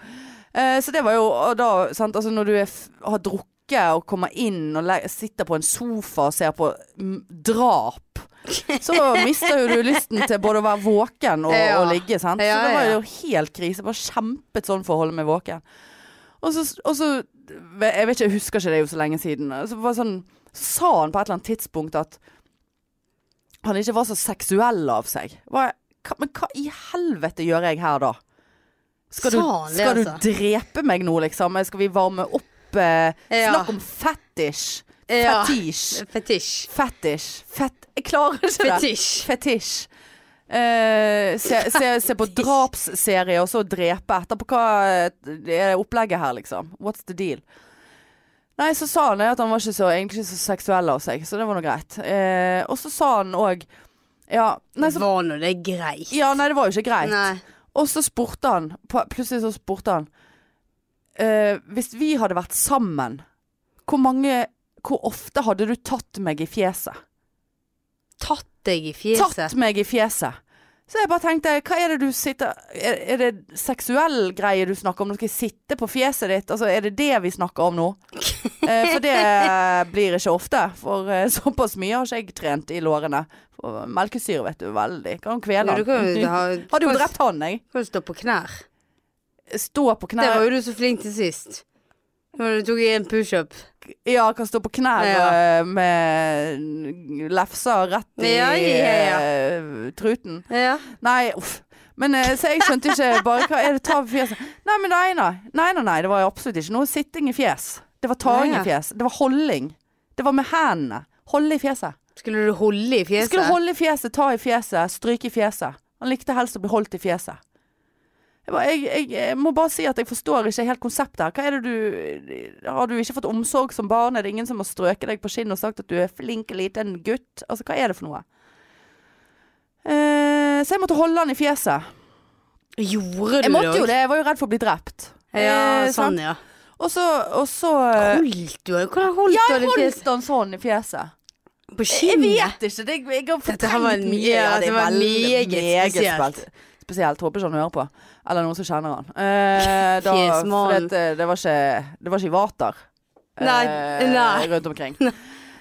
Speaker 2: Eh, så det var jo og da, sant, altså når du er f har drukket og kommer inn og le sitter på en sofa og ser på mm, drap, så mister jo du lysten til både å være våken og,
Speaker 1: Ja.
Speaker 2: og ligge. Sant?
Speaker 1: Ja,
Speaker 2: så det var
Speaker 1: ja.
Speaker 2: jo helt krise. Bare kjempet sånn for å holde meg våken. Og så, og så Jeg vet ikke, jeg husker ikke det er jo så lenge siden. Så var det sånn, så sa han på et eller annet tidspunkt at han ikke var så seksuell av seg. Hva, hva, men hva i helvete gjør jeg her da? Skal du,
Speaker 1: Sa han det,
Speaker 2: skal du
Speaker 1: altså?
Speaker 2: drepe meg nå, liksom? Skal vi varme opp eh,
Speaker 1: Ja.
Speaker 2: Snakk om fetisj.
Speaker 1: Ja.
Speaker 2: Fetisj.
Speaker 1: Fetisj.
Speaker 2: Fetisj. Fett... Jeg klarer ikke det.
Speaker 1: Fetisj.
Speaker 2: Fetisj. Eh, se, se, se på drapsserie og så drepe etterpå. Hva eh, er opplegget her, liksom? What's the deal? Nei, så sa han det at han var ikke så, egentlig ikke så seksuell av seg, så det var nå greit. Eh, og så sa han òg ja, nei, så,
Speaker 1: Var nå det greit?
Speaker 2: ja, nei, det var jo ikke greit.
Speaker 1: Nei.
Speaker 2: Og så spurte han på- Plutselig så spurte han «Eh, Hvis vi hadde vært sammen Hvor mange Hvor ofte hadde du tatt meg i fjeset?
Speaker 1: Tatt deg i fjeset?
Speaker 2: Tatt meg i fjeset Så jeg bare tenkte Hva er det du sitter Er, er det seksuell greie du snakker om? Nå skal jeg sitte på fjeset ditt Altså er det det vi snakker om nå? Eh, for det blir ikke ofte For eh, såpass mye har ikke jeg trent i lårene For melkesyre vet du veldig Kan kvele
Speaker 1: Ja, du kan jo
Speaker 2: han
Speaker 1: ha
Speaker 2: Hadde jo
Speaker 1: kan-
Speaker 2: drept han jeg
Speaker 1: Kan jo stå på knær.
Speaker 2: Stå på knær
Speaker 1: Det var jo du så flink til sist. Når du tok en pushup.
Speaker 2: Ja, kan stå på knær
Speaker 1: Ja.
Speaker 2: eh, med lefsa rett i
Speaker 1: Ja, ja, ja.
Speaker 2: eh, truten.
Speaker 1: Ja.
Speaker 2: Nei, uff. Men eh, så jeg skjønte ikke bare hva er det ta i fjeset. Nei, men nei, nei. Nei, nei, nei. Det var absolutt ikke noe sitting i fjes. Det var taing
Speaker 1: Nei, ja.
Speaker 2: i fjes. Det var holding. Det var med hendene. Holde i fjeset.
Speaker 1: Skulle du holde i
Speaker 2: Jeg
Speaker 1: fjeset?
Speaker 2: skulle holde i fjeset, ta i fjeset, stryke i fjeset. Han likte helst å bli holdt i fjeset. Jeg, bare, jeg, jeg, jeg må bare si at jeg forstår ikke helt konseptet her. Hva er det du Har du ikke fått omsorg som barn? Er det ingen som har strøket deg på kinnet og sagt at du er flink liten gutt? Altså, hva er det for noe? Eh, så jeg måtte holde han i fjeset.
Speaker 1: Gjorde du
Speaker 2: Jeg måtte
Speaker 1: også?
Speaker 2: jo det, jeg var jo redd for å bli drept.
Speaker 1: Ja,
Speaker 2: Eh,
Speaker 1: sånn,
Speaker 2: sant?
Speaker 1: ja.
Speaker 2: Og så, og så eh,
Speaker 1: Holdt du Hvordan Eh, holdt
Speaker 2: Ja,
Speaker 1: du
Speaker 2: jeg
Speaker 1: det i fjeset?
Speaker 2: holdt han sånn i fjeset.
Speaker 1: På
Speaker 2: Jeg
Speaker 1: kinnet?
Speaker 2: vet ikke. Det, jeg har
Speaker 1: Dette her var
Speaker 2: fortrengt mye.
Speaker 1: ja,
Speaker 2: det
Speaker 1: det
Speaker 2: er
Speaker 1: var
Speaker 2: veldig,
Speaker 1: meget spesielt.
Speaker 2: spesielt. Spesielt. Håper ikke han hører på. Eller noen som kjenner han. Eh, da, for
Speaker 1: Fjesmannen.
Speaker 2: det, det, var ikke, det var ikke i vater eh,
Speaker 1: Nei, nei.
Speaker 2: rundt omkring.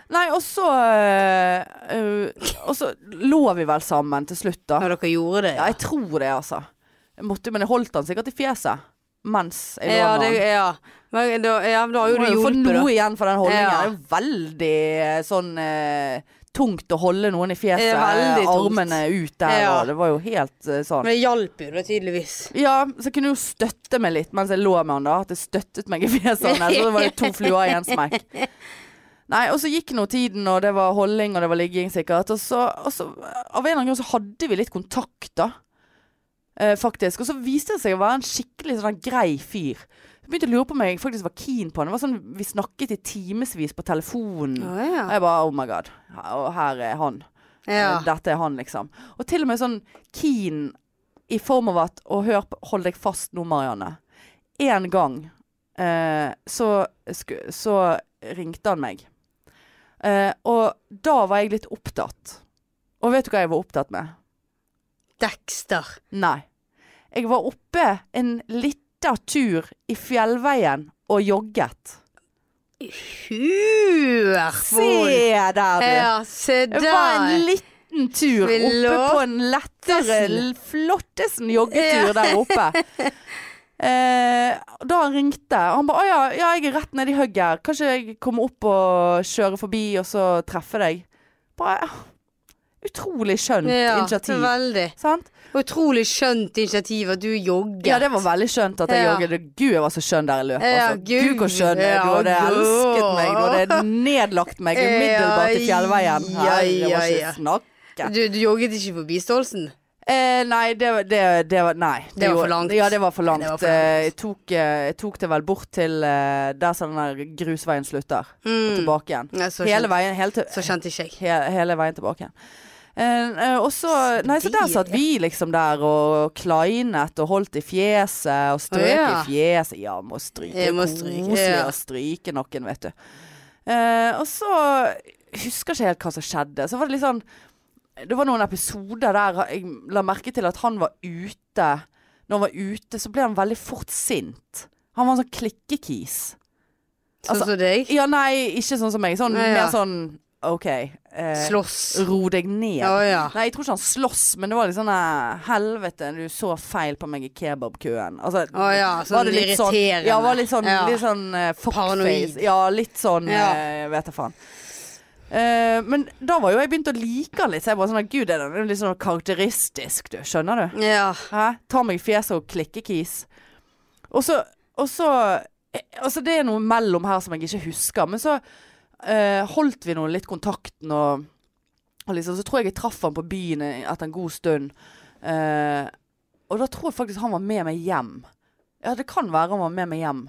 Speaker 2: Nei, og så eh, eh, Og så lå vi vel sammen til slutt, da.
Speaker 1: Når dere gjorde det?
Speaker 2: Ja, jeg tror det, altså. Jeg måtte, men jeg holdt han sikkert i fjeset mens jeg lå
Speaker 1: ja,
Speaker 2: med
Speaker 1: det,
Speaker 2: han.
Speaker 1: ja. Men da, ja, men da har jo
Speaker 2: Må
Speaker 1: du
Speaker 2: jo få
Speaker 1: hjulpet, da.
Speaker 2: noe igjen for den holdningen.
Speaker 1: Ja.
Speaker 2: Det er jo veldig eh, sånn eh, tungt å holde noen i fjeset.
Speaker 1: Det er veldig
Speaker 2: eh,
Speaker 1: tungt.
Speaker 2: Armene ut der,
Speaker 1: Ja.
Speaker 2: og det var jo helt eh, sånn.
Speaker 1: Men det hjalp jo, da, tydeligvis.
Speaker 2: Ja, så jeg kunne jo støtte meg litt mens jeg lå med han da. At det støttet meg i fjeset. hans, Så var det to fluer i en smekk. Nei, og så gikk nå tiden, og det var holding, og det var ligging sikkert. Og så, og så av en eller annen grunn så hadde vi litt kontakt da. Eh, faktisk. Og så viste det seg å være en skikkelig sånn der grei fyr. Jeg begynte å lure på om jeg faktisk var keen på han. Det var sånn, Vi snakket i timevis på telefonen.
Speaker 1: Å
Speaker 2: Og
Speaker 1: ja.
Speaker 2: jeg bare oh my god. Og her er han.
Speaker 1: ja.
Speaker 2: Dette er han, liksom. Og til og med sånn keen i form av at Og hør, på- hold deg fast nå, Marianne. Én gang eh, så, sku, så ringte han meg. Eh, og da var jeg litt opptatt. Og vet du hva jeg var opptatt med?
Speaker 1: Dexter.
Speaker 2: Nei. Jeg var oppe en lita tur i fjellveien og jogget.
Speaker 1: Hurvoll.
Speaker 2: der,
Speaker 1: Ja, se
Speaker 2: Det var en
Speaker 1: der.
Speaker 2: liten tur oppe på en lettere,
Speaker 1: Flottesen.
Speaker 2: flottesen joggetur der oppe. Eh, da han ringte, og han ba 'Å ja, ja, jeg er rett nedi hugget her. Kanskje jeg kommer opp og kjører forbi, og så treffer deg.' Bare, ja. utrolig skjønt
Speaker 1: Ja,
Speaker 2: initiativ.
Speaker 1: veldig.
Speaker 2: Sant?
Speaker 1: Utrolig skjønt initiativ at du jogger.
Speaker 2: Ja, det var veldig skjønt at jeg
Speaker 1: Ja.
Speaker 2: jogget. Gud, jeg var så skjønn der jeg løp.
Speaker 1: Ja,
Speaker 2: Altså. Gud, hvor skjønn jeg er.
Speaker 1: ja,
Speaker 2: Du hadde
Speaker 1: Gud.
Speaker 2: elsket meg. Du hadde nedlagt meg umiddelbart i fjellveien.
Speaker 1: Ja,
Speaker 2: Herre, det
Speaker 1: ja,
Speaker 2: var
Speaker 1: ja.
Speaker 2: ikke snakk.
Speaker 1: Du, du jogget ikke forbi Stolsen?
Speaker 2: Eh, nei, det, var- det, det var Nei.
Speaker 1: Det var
Speaker 2: gjorde-
Speaker 1: for langt.
Speaker 2: Ja, det var for langt.
Speaker 1: Det var for langt.
Speaker 2: Eh, Jeg, tok, eh, jeg tok det vel bort til eh, der som den der grusveien slutter. Og
Speaker 1: Mm.
Speaker 2: tilbake igjen.
Speaker 1: Nei, så,
Speaker 2: Hele
Speaker 1: kjente,
Speaker 2: veien, hele, til,
Speaker 1: så kjente ikke jeg.
Speaker 2: he, hele veien tilbake igjen. Eh, eh, og så Nei, så der satt vi liksom der og kleinet og holdt i fjeset og
Speaker 1: Å,
Speaker 2: strøk
Speaker 1: ja.
Speaker 2: i fjeset. Ja, må stryke.
Speaker 1: Jeg må stryke,
Speaker 2: Koselig
Speaker 1: ja.
Speaker 2: å stryke noen, vet du. Eh, og så husker ikke helt hva som skjedde. Så var det litt sånn det var noen episoder der jeg la merke til at han var ute. Når han var ute, så ble han veldig fort sint. Han var en sånn klikkekis.
Speaker 1: Sånn
Speaker 2: Altså,
Speaker 1: som deg.
Speaker 2: Ja, nei, ikke sånn som meg. Sånn,
Speaker 1: Nei, ja.
Speaker 2: Mer sånn OK. Eh,
Speaker 1: Slåss.
Speaker 2: ro deg ned.
Speaker 1: Å ja.
Speaker 2: Nei, jeg tror ikke han slåss, men det var litt sånn eh, Helvete, du så feil på meg i kebabkøen. Altså,
Speaker 1: Å ja,
Speaker 2: var
Speaker 1: sånn
Speaker 2: det litt sånn-
Speaker 1: irriterende.
Speaker 2: Ja, var litt sånn,
Speaker 1: Ja.
Speaker 2: litt sånn eh, fuckface.
Speaker 1: Paranoid.
Speaker 2: Ja, litt sånn
Speaker 1: Ja.
Speaker 2: eh, Vet jeg faen. Eh, men da var jo jeg begynt å like han litt. Så jeg bare sånn at, Gud, er det litt sånn karakteristisk, du. Skjønner du?
Speaker 1: Ja.
Speaker 2: Hæ? Ta meg i fjeset og klikkekis. Og så Og så eh, Altså, det er noe mellom her som jeg ikke husker. Men så eh, holdt vi nå litt kontakten, og, og liksom Så tror jeg jeg traff han på byen eh, etter en god stund. Eh, og da tror jeg faktisk han var med meg hjem. Ja, det kan være han var med meg hjem.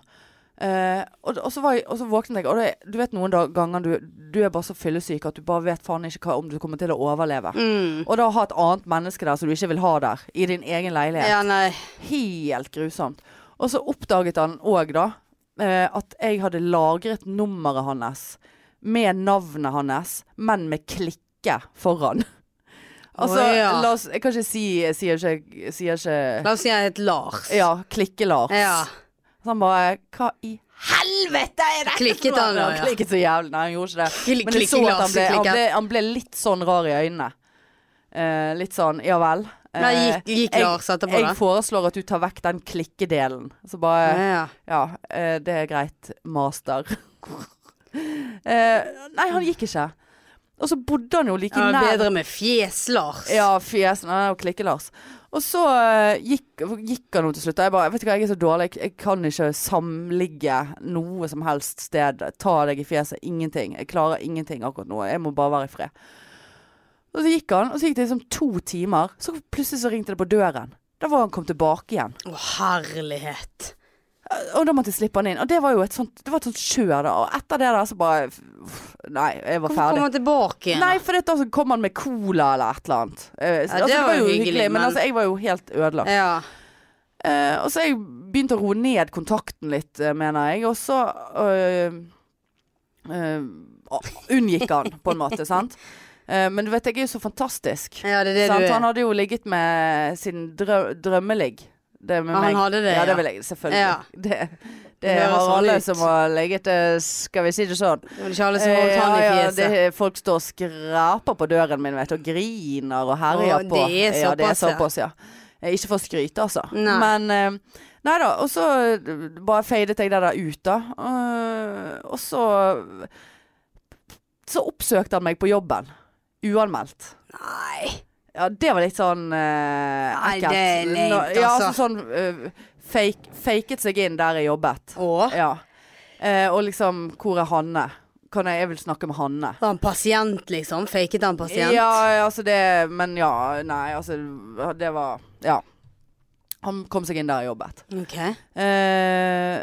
Speaker 2: Eh, og, og, så var jeg, og så våknet jeg, og det, du vet noen da- ganger du, du er bare så fyllesyk at du bare vet faen ikke hva, om du kommer til å overleve.
Speaker 1: Mm.
Speaker 2: Og da å ha et annet menneske der som du ikke vil ha der, i din egen leilighet.
Speaker 1: Ja, nei.
Speaker 2: Helt grusomt. Og så oppdaget han òg, da, eh, at jeg hadde lagret nummeret hans med navnet hans, men med klikke foran. Altså,
Speaker 1: Å, ja.
Speaker 2: la oss Jeg kan ikke si Sier ikke, sier ikke
Speaker 1: La oss si han het Lars.
Speaker 2: Ja, Klikke-Lars.
Speaker 1: Ja.
Speaker 2: Så han bare Hva i helvete er dette?
Speaker 1: Klikket han da, ja.
Speaker 2: Klikket så jævlig. Nei, han gjorde ikke det.
Speaker 1: Kli-
Speaker 2: Men jeg så at han ble, han,
Speaker 1: klikke.
Speaker 2: ble, han ble litt sånn rar i øynene. Eh, litt sånn ja vel. Eh,
Speaker 1: Nei, gikk, gikk
Speaker 2: jeg-
Speaker 1: Lars etterpå, da?
Speaker 2: jeg foreslår at du tar vekk den klikkedelen. Så bare
Speaker 1: Ja.
Speaker 2: Ja, eh, det er greit, master. eh, nei, han gikk ikke. Og så bodde han jo like
Speaker 1: Ja,
Speaker 2: nær
Speaker 1: bedre med fjes-Lars.
Speaker 2: ja, fjesen Nei, og klikke-Lars. Og så eh, gikk, gikk han jo til slutt. og Jeg bare, vet du hva, jeg er så dårlig. Jeg, jeg kan ikke samligge noe som helst sted. Ta deg i fjeset. Ingenting. Jeg klarer ingenting akkurat nå. Jeg må bare være i fred. Og så gikk han, og så gikk det liksom to timer. Så plutselig så ringte det på døren. Da var han kom tilbake igjen.
Speaker 1: Å, herlighet.
Speaker 2: Og da måtte jeg slippe han inn. Og det var jo et sånt, det var et sånt kjør, da. Og etter det der så bare uff, Nei, jeg var
Speaker 1: Hvorfor
Speaker 2: ferdig.
Speaker 1: kom han tilbake igjen?
Speaker 2: Nei, for det, da så kom han med cola eller et eller annet. Eh, altså, det, var jo hyggelig, men,
Speaker 1: men-
Speaker 2: altså, jeg var jo helt ødelagt.
Speaker 1: Ja.
Speaker 2: Eh, og så jeg begynte å roe ned kontakten litt, eh, mener jeg. Og så eh, eh, unngikk han, på en måte, sant. Eh, men du vet, jeg er jo så fantastisk.
Speaker 1: ja, det er det
Speaker 2: sant?
Speaker 1: du er.
Speaker 2: Han hadde jo ligget med sin drø drømmeligg. Det med
Speaker 1: Ja, han
Speaker 2: meg.
Speaker 1: hadde det,
Speaker 2: ja.
Speaker 1: ja.
Speaker 2: det vil jeg selvfølgelig.
Speaker 1: Ja.
Speaker 2: Det, det,
Speaker 1: Det høres
Speaker 2: har
Speaker 1: sånn
Speaker 2: alle
Speaker 1: ut.
Speaker 2: som har ligget det, skal vi si det sånn.
Speaker 1: Det var ikke alle som holdt
Speaker 2: Eh,
Speaker 1: han i
Speaker 2: ja, ja,
Speaker 1: fjeset.
Speaker 2: det- folk står og skraper på døren min vet, du, og griner og herjer
Speaker 1: Å,
Speaker 2: på.
Speaker 1: det er
Speaker 2: ja, det er
Speaker 1: såpass,
Speaker 2: såpass, ja. Eh, Ikke for å skryte, altså.
Speaker 1: Nei.
Speaker 2: Men eh, Nei da. Og så eh, bare fadet jeg det der ut, da. Eh, og så Så oppsøkte han meg på jobben. Uanmeldt.
Speaker 1: Nei.
Speaker 2: Ja, det var litt sånn eh,
Speaker 1: Nei,
Speaker 2: ekkelt.
Speaker 1: det er leit,
Speaker 2: Nå- Ja,
Speaker 1: altså.
Speaker 2: altså sånn eh, fake, Faket seg inn der jeg jobbet.
Speaker 1: Å?
Speaker 2: Ja. Eh, og liksom Hvor er Hanne? Kan jeg, jeg vil snakke med Hanne.
Speaker 1: Var han pasient, liksom? Faket han pasient?
Speaker 2: Ja, altså det Men ja, nei, altså Det var Ja. Han kom seg inn der og jobbet.
Speaker 1: Ok.
Speaker 2: Eh,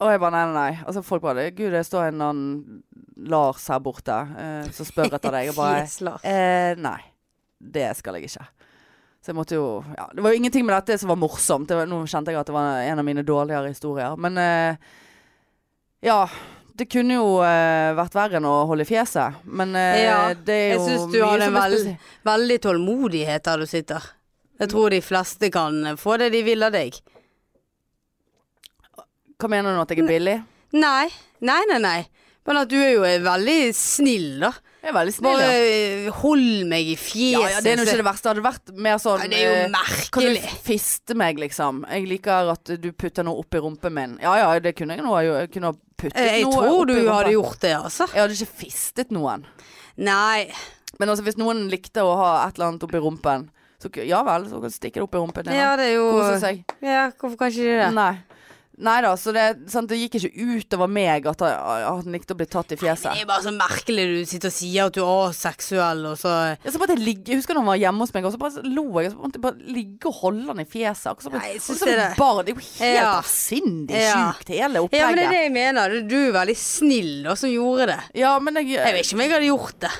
Speaker 2: Og jeg bare nei, nei, nei. Og så folk bare Gud, det står en annen Lars her borte eh, som spør etter deg. Og bare
Speaker 1: Yes, Lars.
Speaker 2: eh, Nei. Det skal jeg ikke. Så jeg måtte jo ja, Det var jo ingenting med dette som var morsomt. Det var, nå kjente jeg at det var en av mine dårligere historier. Men eh, ja. Det kunne jo eh, vært verre enn å holde i fjeset, men eh,
Speaker 1: Ja,
Speaker 2: det er
Speaker 1: jeg
Speaker 2: jo
Speaker 1: synes du
Speaker 2: mye
Speaker 1: har en
Speaker 2: som er
Speaker 1: veld-
Speaker 2: spesielt.
Speaker 1: Veldig tålmodighet der du sitter. Jeg tror de fleste kan eh, få det de vil av deg.
Speaker 2: Hva mener du nå at jeg er billig?
Speaker 1: Nei. Nei, nei, nei. Men at du er jo eh, veldig snill, da.
Speaker 2: Jeg er veldig snill.
Speaker 1: Bare
Speaker 2: ja.
Speaker 1: eh, hold meg i fjeset.
Speaker 2: Ja, ja, det er jo ikke det verste. Hadde det vært mer sånn
Speaker 1: Ja, det er
Speaker 2: eh,
Speaker 1: jo
Speaker 2: Kan du
Speaker 1: merkelig.
Speaker 2: fiste meg, liksom? Jeg liker at du putter noe oppi rumpen min. Ja ja, det kunne jeg nå ha gjort. Jeg kunne ha puttet
Speaker 1: Eh, Jeg
Speaker 2: noe
Speaker 1: tror du
Speaker 2: oppi rumpen.
Speaker 1: hadde gjort det, altså.
Speaker 2: Jeg hadde ikke fistet noen.
Speaker 1: Nei.
Speaker 2: Men altså, hvis noen likte å ha et eller annet oppi rumpen, så ku- ja vel, så kan du stikke det oppi rumpen din.
Speaker 1: Ja,
Speaker 2: da.
Speaker 1: det er jo
Speaker 2: Kose seg.
Speaker 1: Ja, hvorfor kan ikke de det?
Speaker 2: Nei. Nei da, så det, sant, det gikk ikke utover meg at han at han likte å bli tatt i
Speaker 1: Det
Speaker 2: fjeset.
Speaker 1: er bare så merkelig du sitter og sier at du er aseksuell, og så
Speaker 2: Jeg, så bare at jeg, ligge, jeg husker når han var hjemme hos meg, og så bare lo jeg. Og så måtte jeg bare ligge og holde han i fjeset. Akkurat som
Speaker 1: Nei, jeg
Speaker 2: et-
Speaker 1: synes
Speaker 2: som et
Speaker 1: det er-
Speaker 2: barn. Det er jo helt
Speaker 1: Ja.
Speaker 2: avsindig
Speaker 1: Ja.
Speaker 2: sjukt, hele opplegget.
Speaker 1: Ja, men det er det jeg mener. Du er veldig snill da, som gjorde det.
Speaker 2: Ja, men jeg,
Speaker 1: Jeg vet ikke om jeg hadde gjort det.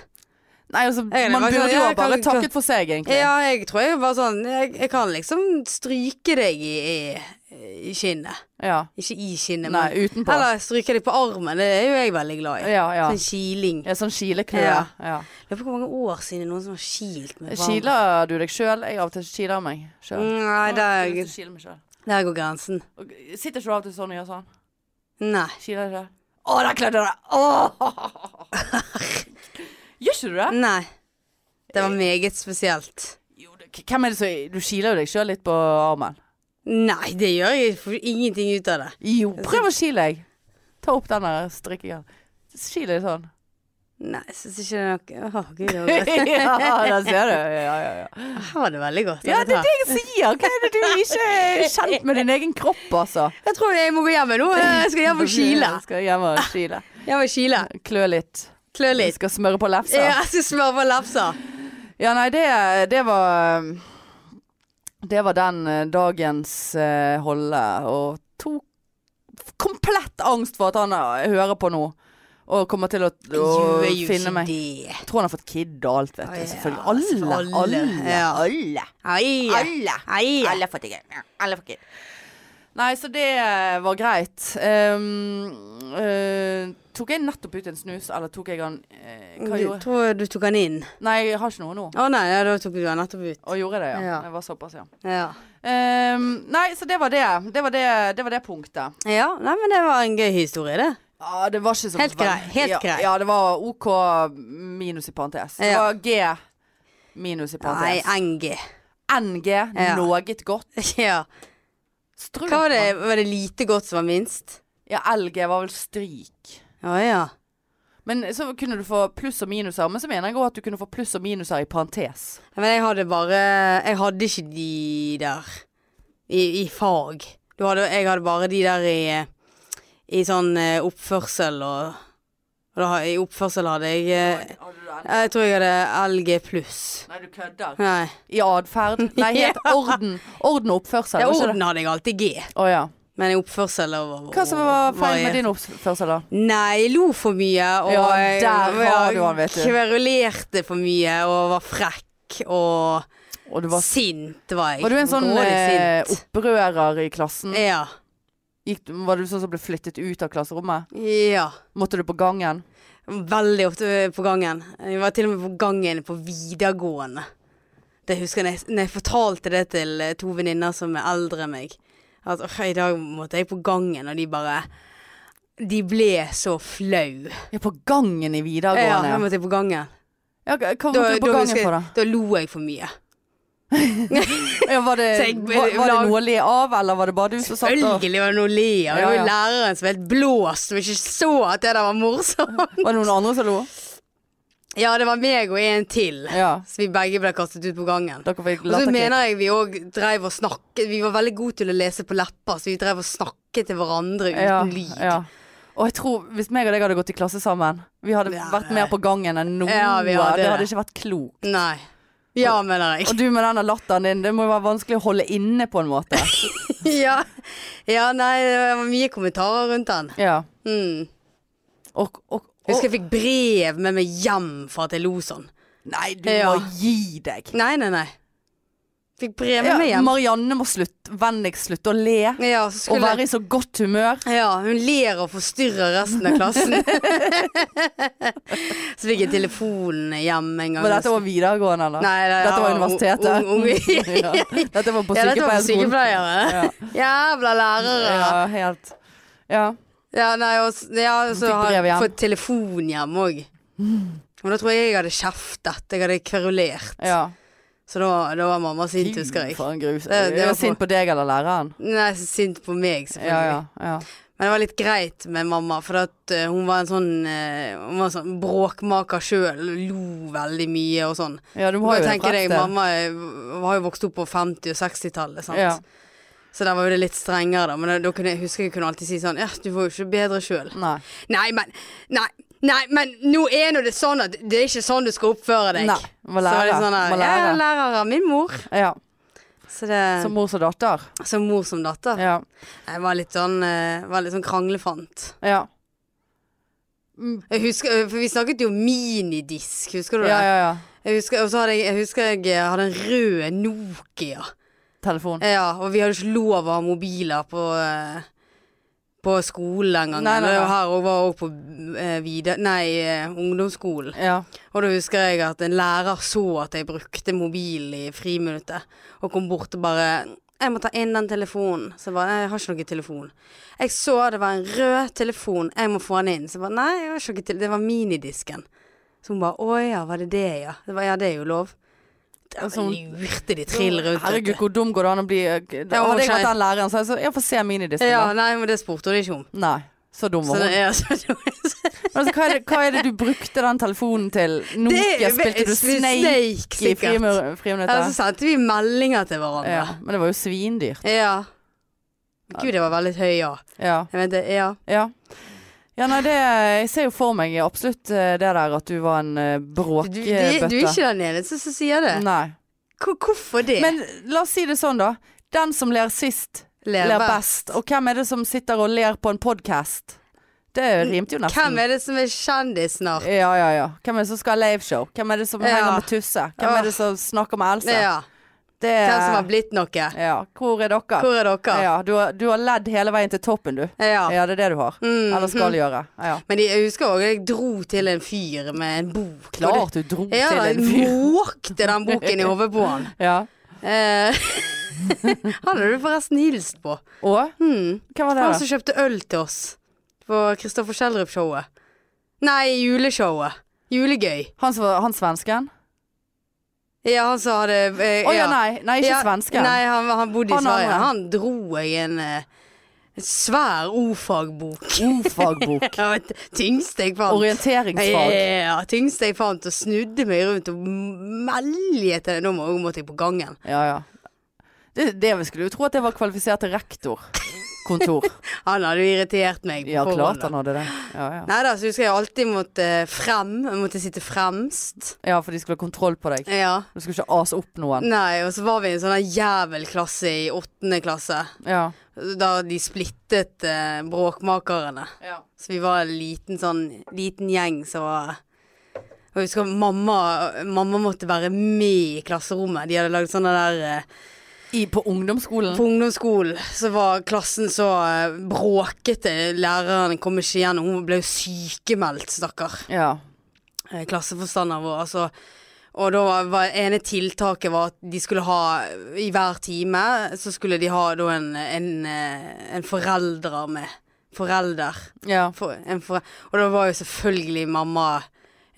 Speaker 2: Nei, altså,
Speaker 1: er
Speaker 2: man
Speaker 1: bare
Speaker 2: burde
Speaker 1: sånn,
Speaker 2: jo
Speaker 1: ja,
Speaker 2: ha bare
Speaker 1: kan- kan-
Speaker 2: takket for seg, egentlig.
Speaker 1: Ja, jeg tror jeg var sånn Jeg, jeg kan liksom stryke deg i, i, i kinnet.
Speaker 2: Ja.
Speaker 1: Ikke i kinnet,
Speaker 2: Nei,
Speaker 1: men
Speaker 2: utenpå.
Speaker 1: Eller stryke deg på armen. Det er jo jeg veldig glad i.
Speaker 2: Ja, ja.
Speaker 1: Sånn kiling.
Speaker 2: ja sånn kileknue. Ja.
Speaker 1: Ja. Jeg vet ikke hvor mange år siden det er noen som har kilt meg. på armen.
Speaker 2: Kiler du deg sjøl? Jeg av og til kiler meg sjøl.
Speaker 1: Nei, der,
Speaker 2: meg selv.
Speaker 1: der går grensen.
Speaker 2: Og Sitter ikke du av og til sånn og gjør sånn?
Speaker 1: Nei.
Speaker 2: Kiler deg sjøl? Å, der klødde det! Åh! Mm. Gjør ikke du det?
Speaker 1: Nei. Det var meget spesielt.
Speaker 2: Jo, det- hvem er det som Du kiler jo deg sjøl litt på armen.
Speaker 1: Nei, det gjør jeg. Jeg får ingenting ut av det.
Speaker 2: Jo, prøv å kile deg. Ta opp den der strikkingen. Kil deg sånn.
Speaker 1: Nei, jeg syns ikke det er noe Å, gud, det var
Speaker 2: ja,
Speaker 1: godt.
Speaker 2: der ser du. Ja, ja, ja.
Speaker 1: Her var det veldig godt.
Speaker 2: Ja,
Speaker 1: dette
Speaker 2: det er
Speaker 1: her.
Speaker 2: det jeg sier. Hva er det du ikke er kjent med din egen kropp, altså?
Speaker 1: Jeg tror jeg må gå hjem jeg nå. Jeg skal hjem og kile.
Speaker 2: Skal hjem og kile.
Speaker 1: Hjem og kile.
Speaker 2: Klø litt.
Speaker 1: Klø litt.
Speaker 2: Skal smøre på lefsa.
Speaker 1: Ja,
Speaker 2: Ja,
Speaker 1: jeg skal smøre på lefser.
Speaker 2: nei, det, det var Det var den eh, dagens eh, holde. Og tok komplett angst for at han eh, hører på nå. Og kommer til å, å
Speaker 1: Gjør jo
Speaker 2: finne
Speaker 1: ikke
Speaker 2: meg.
Speaker 1: det.
Speaker 2: Jeg tror han har fått kid og alt, vet
Speaker 1: Ja,
Speaker 2: du. Selvfølgelig.
Speaker 1: alle,
Speaker 2: Alle. Alle.
Speaker 1: ja.
Speaker 2: alle.
Speaker 1: Ai, ai.
Speaker 2: Alle har fått det gøy. Ja, Alle har fått det. Nei, så det eh, var greit. Ehm, eh, tok jeg nettopp ut en snus, eller tok jeg den eh, Hva
Speaker 1: Mm, Du
Speaker 2: gjorde jeg?
Speaker 1: tror du tok den inn?
Speaker 2: Nei, jeg har ikke noe nå.
Speaker 1: Å nei, ja, da tok du den nettopp ut.
Speaker 2: Og gjorde jeg det, ja.
Speaker 1: Ja.
Speaker 2: Det var såpass, ja.
Speaker 1: Ja.
Speaker 2: Ehm, nei, så det var det. Det var det, det, var det punktet.
Speaker 1: ja. Nei, men det var en gøy historie, det.
Speaker 2: Ja, det var ikke så
Speaker 1: Helt grei, helt
Speaker 2: ja,
Speaker 1: grei.
Speaker 2: Ja, det var OK minus i parentes. Det
Speaker 1: Ja.
Speaker 2: var G minus i
Speaker 1: Nei,
Speaker 2: parentes.
Speaker 1: NG.
Speaker 2: NG,
Speaker 1: Ja.
Speaker 2: noget godt.
Speaker 1: Ja.
Speaker 2: Strøk.
Speaker 1: Hva var det?
Speaker 2: man.
Speaker 1: Var det lite godt som var minst?
Speaker 2: Ja, LG var vel stryk.
Speaker 1: Å ja.
Speaker 2: Men så kunne du få pluss og minuser, men så mener jeg også at du kunne få pluss og minuser i parentes.
Speaker 1: Men jeg hadde bare Jeg hadde ikke de der i, i fag. Du hadde, jeg hadde bare de der i, i sånn eh, oppførsel og, og da, har- I oppførsel hadde jeg eh, Jeg tror jeg hadde LG pluss.
Speaker 2: Nei, du kødder.
Speaker 1: Nei.
Speaker 2: I atferd? Nei, helt orden. Orden og oppførsel.
Speaker 1: Ja,
Speaker 2: var ikke det?
Speaker 1: orden hadde jeg alltid G,
Speaker 2: Å ja.
Speaker 1: men i oppførsel og, og,
Speaker 2: Hva som var feil
Speaker 1: jeg-
Speaker 2: med din oppførsel, da?
Speaker 1: Nei, jeg lo for mye. Og
Speaker 2: Ja,
Speaker 1: jeg-
Speaker 2: der har du han, vet du.
Speaker 1: Kverulerte for mye og var frekk og
Speaker 2: Og du var,
Speaker 1: sint var jeg.
Speaker 2: var du en sånn
Speaker 1: Grådig
Speaker 2: eh, Mm.
Speaker 1: sint.
Speaker 2: opprører i klassen?
Speaker 1: Ja.
Speaker 2: Gikk, du- var du sånn som ble flyttet ut av klasserommet?
Speaker 1: Ja.
Speaker 2: Måtte du på gangen?
Speaker 1: Veldig ofte på gangen. Jeg var til og med på gangen på videregående. Det husker jeg når jeg fortalte det til eh, to venninner som er eldre enn meg. At «Åh, i dag måtte jeg på gangen, og de bare De ble så flau.
Speaker 2: Ja, på gangen i
Speaker 1: Ja,
Speaker 2: videregående.
Speaker 1: jeg
Speaker 2: Ja,
Speaker 1: måtte jeg på gangen.
Speaker 2: ja, hva hva måtte du på gangen
Speaker 1: husker
Speaker 2: for,
Speaker 1: jeg,
Speaker 2: da?
Speaker 1: da lo jeg for mye.
Speaker 2: Ja, var, det,
Speaker 1: Så jeg-
Speaker 2: var, var det noe å le av, eller var det bare du som satt og
Speaker 1: Følgelig var det noe å le av. Det var
Speaker 2: Ja,
Speaker 1: jo
Speaker 2: ja.
Speaker 1: læreren som var helt blåst, som ikke så at det der var morsomt.
Speaker 2: Var det noen andre som lo?
Speaker 1: Ja, det var meg og en til.
Speaker 2: Ja.
Speaker 1: Så vi begge ble kastet ut på gangen.
Speaker 2: Dere fikk
Speaker 1: Og så
Speaker 2: latterkick.
Speaker 1: mener jeg vi òg dreiv og snakket Vi var veldig gode til å lese på lepper, så vi dreiv og snakket til hverandre uten lyd.
Speaker 2: Ja. Og jeg tror, hvis meg og deg hadde gått i klasse sammen, vi hadde
Speaker 1: Ja,
Speaker 2: vært
Speaker 1: ja.
Speaker 2: mer på gangen enn noe.
Speaker 1: Ja, vi hadde
Speaker 2: det
Speaker 1: det.
Speaker 2: hadde ikke vært klokt.
Speaker 1: Nei. Ja, mener jeg.
Speaker 2: Og du med denne latteren din, det må jo være vanskelig å holde inne på en måte.
Speaker 1: ja. ja, nei, det var mye kommentarer rundt den.
Speaker 2: Ja.
Speaker 1: Mm.
Speaker 2: Og,
Speaker 1: Jeg
Speaker 2: og, og
Speaker 1: husker jeg fikk brev med meg hjem for at jeg lo sånn.
Speaker 2: Nei, du
Speaker 1: Ja.
Speaker 2: må gi deg.
Speaker 1: Nei, nei, nei. Fikk brev med
Speaker 2: Ja,
Speaker 1: meg hjem.
Speaker 2: Marianne må slutte, vennligst slutte å le.
Speaker 1: Ja, så
Speaker 2: Og
Speaker 1: skulle
Speaker 2: være i så godt humør.
Speaker 1: Ja, hun ler og forstyrrer resten av klassen. så fikk jeg telefonen hjem en gang.
Speaker 2: Men dette var videregående, eller?
Speaker 1: Nei, nei,
Speaker 2: dette var
Speaker 1: ja,
Speaker 2: universitetet.
Speaker 1: ung- ung- ung-
Speaker 2: ja. Dette var på
Speaker 1: ja, dette var på
Speaker 2: sykepleierskolen.
Speaker 1: sykepleiere.
Speaker 2: Ja.
Speaker 1: Jævla lærere. Ja,
Speaker 2: ja, helt. Ja.
Speaker 1: nei, og, s- ja, så
Speaker 2: fikk
Speaker 1: har
Speaker 2: brev
Speaker 1: jeg
Speaker 2: hjem.
Speaker 1: fått telefon hjem òg. Men da tror jeg jeg hadde kjeftet. Jeg hadde kverulert.
Speaker 2: ja.
Speaker 1: Så da, da var mamma sint, husker jeg.
Speaker 2: For en grus.
Speaker 1: Det- det
Speaker 2: Jeg
Speaker 1: var
Speaker 2: var sint på deg eller læreren.
Speaker 1: Nei, sint på meg, selvfølgelig.
Speaker 2: Ja, ja, ja.
Speaker 1: Men det var litt greit med mamma, for at eh, hun var en sånn, eh, hun var en sånn bråkmaker sjøl. Lo veldig mye og sånn.
Speaker 2: ja du
Speaker 1: Du kan
Speaker 2: har jo
Speaker 1: jo
Speaker 2: en
Speaker 1: tenke deg,
Speaker 2: rett til.
Speaker 1: mamma eh, var jo vokst opp på 50- og 60-tallet, sant.
Speaker 2: Ja.
Speaker 1: Så der var jo det litt strengere, da. Men da, da kunne jeg husker jeg kunne alltid si sånn Ja, du var jo ikke bedre sjøl.
Speaker 2: Nei.
Speaker 1: Nei, men Nei, nei, men nå er nå det sånn at det er ikke sånn du skal oppføre deg.
Speaker 2: Nei.
Speaker 1: Så
Speaker 2: Må
Speaker 1: er
Speaker 2: lære.
Speaker 1: det sånn
Speaker 2: Må
Speaker 1: her Ja,
Speaker 2: lære.
Speaker 1: lærer av min mor.
Speaker 2: Ja.
Speaker 1: Så det
Speaker 2: Som mor som datter.
Speaker 1: Som mor som datter.
Speaker 2: Ja.
Speaker 1: Jeg var litt sånn, eh, var litt sånn kranglefant.
Speaker 2: Ja.
Speaker 1: Jeg husker, eh, for vi snakket jo minidisk, husker du det?
Speaker 2: ja, ja, ja.
Speaker 1: Jeg husker, og så hadde jeg, jeg husker jeg eh, hadde en rød Nokia.
Speaker 2: Telefon.
Speaker 1: Ja, og vi hadde ikke lov å ha mobiler på, eh, på skolen den gangen.
Speaker 2: Nei, nei, nei.
Speaker 1: Og Her og var også på eh, vide, nei, eh, ungdomsskolen.
Speaker 2: Ja.
Speaker 1: Og da husker jeg at en lærer så at jeg brukte mobilen i friminuttet, og kom bort og bare 'Jeg må ta inn den telefonen.' Så jeg bare 'Nei, jeg har ikke noen telefon'. Jeg så det var en rød telefon, jeg må få den inn. Så jeg bare 'Nei, jeg har ikke noen telefon'. Det var minidisken. Så hun bare 'Å ja, var det det, ja?' Det var, ja, det er jo lov. Da
Speaker 2: Altså, hun-
Speaker 1: lurte de trill rundt. vet du.
Speaker 2: Herregud, hvor dum går det an å bli? eh,
Speaker 1: Ja,
Speaker 2: hadde jeg
Speaker 1: skjønner.
Speaker 2: vært den læreren, så hadde jeg sagt jeg får se minidisken.
Speaker 1: Ja,
Speaker 2: da.
Speaker 1: nei, men det spurte hun ikke om.
Speaker 2: Nei. Så dum
Speaker 1: Så
Speaker 2: var hun.
Speaker 1: det, ja, så det var
Speaker 2: Men Altså, hva, er det, hva er det du brukte den telefonen til? Nokia? Spilte du Snake i
Speaker 1: sikkert.
Speaker 2: frimur-
Speaker 1: Ja, så sånn,
Speaker 2: friminuttet?
Speaker 1: sendte vi meldinger til
Speaker 2: Ja,
Speaker 1: hverandre.
Speaker 2: men det var jo svindyrt.
Speaker 1: Ja. Gud, det var veldig høy, ja.
Speaker 2: Ja.
Speaker 1: Jeg mente, ja.
Speaker 2: Ja. Ja, nei, det, jeg ser jo for meg absolutt eh, det der at du var en eh,
Speaker 1: Du, du, du er
Speaker 2: bråkebøtte.
Speaker 1: ikke den eneste som sier det.
Speaker 2: Nei.
Speaker 1: Hvor- hvorfor det?
Speaker 2: Men la oss si det sånn, da. Den som ler sist,
Speaker 1: Ler
Speaker 2: ler
Speaker 1: best.
Speaker 2: best. Og hvem er det som sitter og ler på en podkast? Det rimte jo nesten.
Speaker 1: Hvem er det som er kjendis snart?
Speaker 2: Ja, ja, ja. Hvem er det som skal ha liveshow? Hvem er det som
Speaker 1: Ja.
Speaker 2: henger med Tusse? Hvem
Speaker 1: Åh.
Speaker 2: er det som snakker med Else?
Speaker 1: Ja.
Speaker 2: Det,
Speaker 1: Hvem som har blitt noe?
Speaker 2: ja. Hvor er dere?
Speaker 1: Hvor er dere?
Speaker 2: Ja, du, har, du har ledd hele veien til toppen, du.
Speaker 1: Ja.
Speaker 2: Ja, det er det du har.
Speaker 1: Mm.
Speaker 2: Eller skal gjøre. Ja.
Speaker 1: Men de- jeg husker òg jeg dro til en fyr med en bok.
Speaker 2: Klart du dro
Speaker 1: Og det- Ja,
Speaker 2: til
Speaker 1: jeg
Speaker 2: en fyr.
Speaker 1: måkte den boken i hodet på han.
Speaker 2: Ja.
Speaker 1: Eh, han hadde du forresten hilst på.
Speaker 2: Og?
Speaker 1: Hmm.
Speaker 2: Hva var det,
Speaker 1: Han
Speaker 2: da?
Speaker 1: som kjøpte øl til oss på Kristoffer Schjelderup-showet. Nei, juleshowet. Julegøy.
Speaker 2: Han, som var- han svensken?
Speaker 1: Ja, han som hadde eh,
Speaker 2: Å ja, nei. Nei, ikke
Speaker 1: Ja,
Speaker 2: svensken.
Speaker 1: Nei, han, han bodde i
Speaker 2: Han
Speaker 1: Sverige.
Speaker 2: andre.
Speaker 1: Han dro jeg en eh, svær o-fagbok.
Speaker 2: Ordfagbok.
Speaker 1: Det var det tyngste jeg fant.
Speaker 2: Orienteringsfag.
Speaker 1: Ja, tyngste jeg fant, og snudde meg rundt og melje til det. Nå må- nå måtte jeg på gangen.
Speaker 2: Ja, ja. Det, det vi skulle jo tro at det var kvalifisert til rektorkontor.
Speaker 1: Han hadde jo irritert meg. på
Speaker 2: Ja,
Speaker 1: forhånd,
Speaker 2: klart
Speaker 1: da.
Speaker 2: han hadde det. Ja, ja.
Speaker 1: Nei da, så husker jeg alltid måtte eh, frem. Jeg måtte sitte fremst.
Speaker 2: ja, for de skulle ha kontroll på deg.
Speaker 1: Ja.
Speaker 2: Du skulle ikke ase opp noen.
Speaker 1: Nei, og så var vi i en sånn der jævelklasse i åttende klasse.
Speaker 2: Ja.
Speaker 1: Da de splittet eh, bråkmakerne.
Speaker 2: Ja.
Speaker 1: Så vi var en liten sånn Liten gjeng som var Og jeg husker mamma Mamma måtte være med i klasserommet De hadde laget sånne der eh,
Speaker 2: I, på ungdomsskolen?
Speaker 1: På ungdomsskolen så var klassen så eh, bråkete Læreren kom ikke igjen Og hun ble jo sykemeldt, stakkar
Speaker 2: Ja.
Speaker 1: eh, Klasseforstander vår altså. Og da var, var ene tiltaket var at de skulle ha I hver time så skulle de ha da en, en, eh, en forelder med Forelder
Speaker 2: ja.
Speaker 1: for, en for, og da var jo selvfølgelig mamma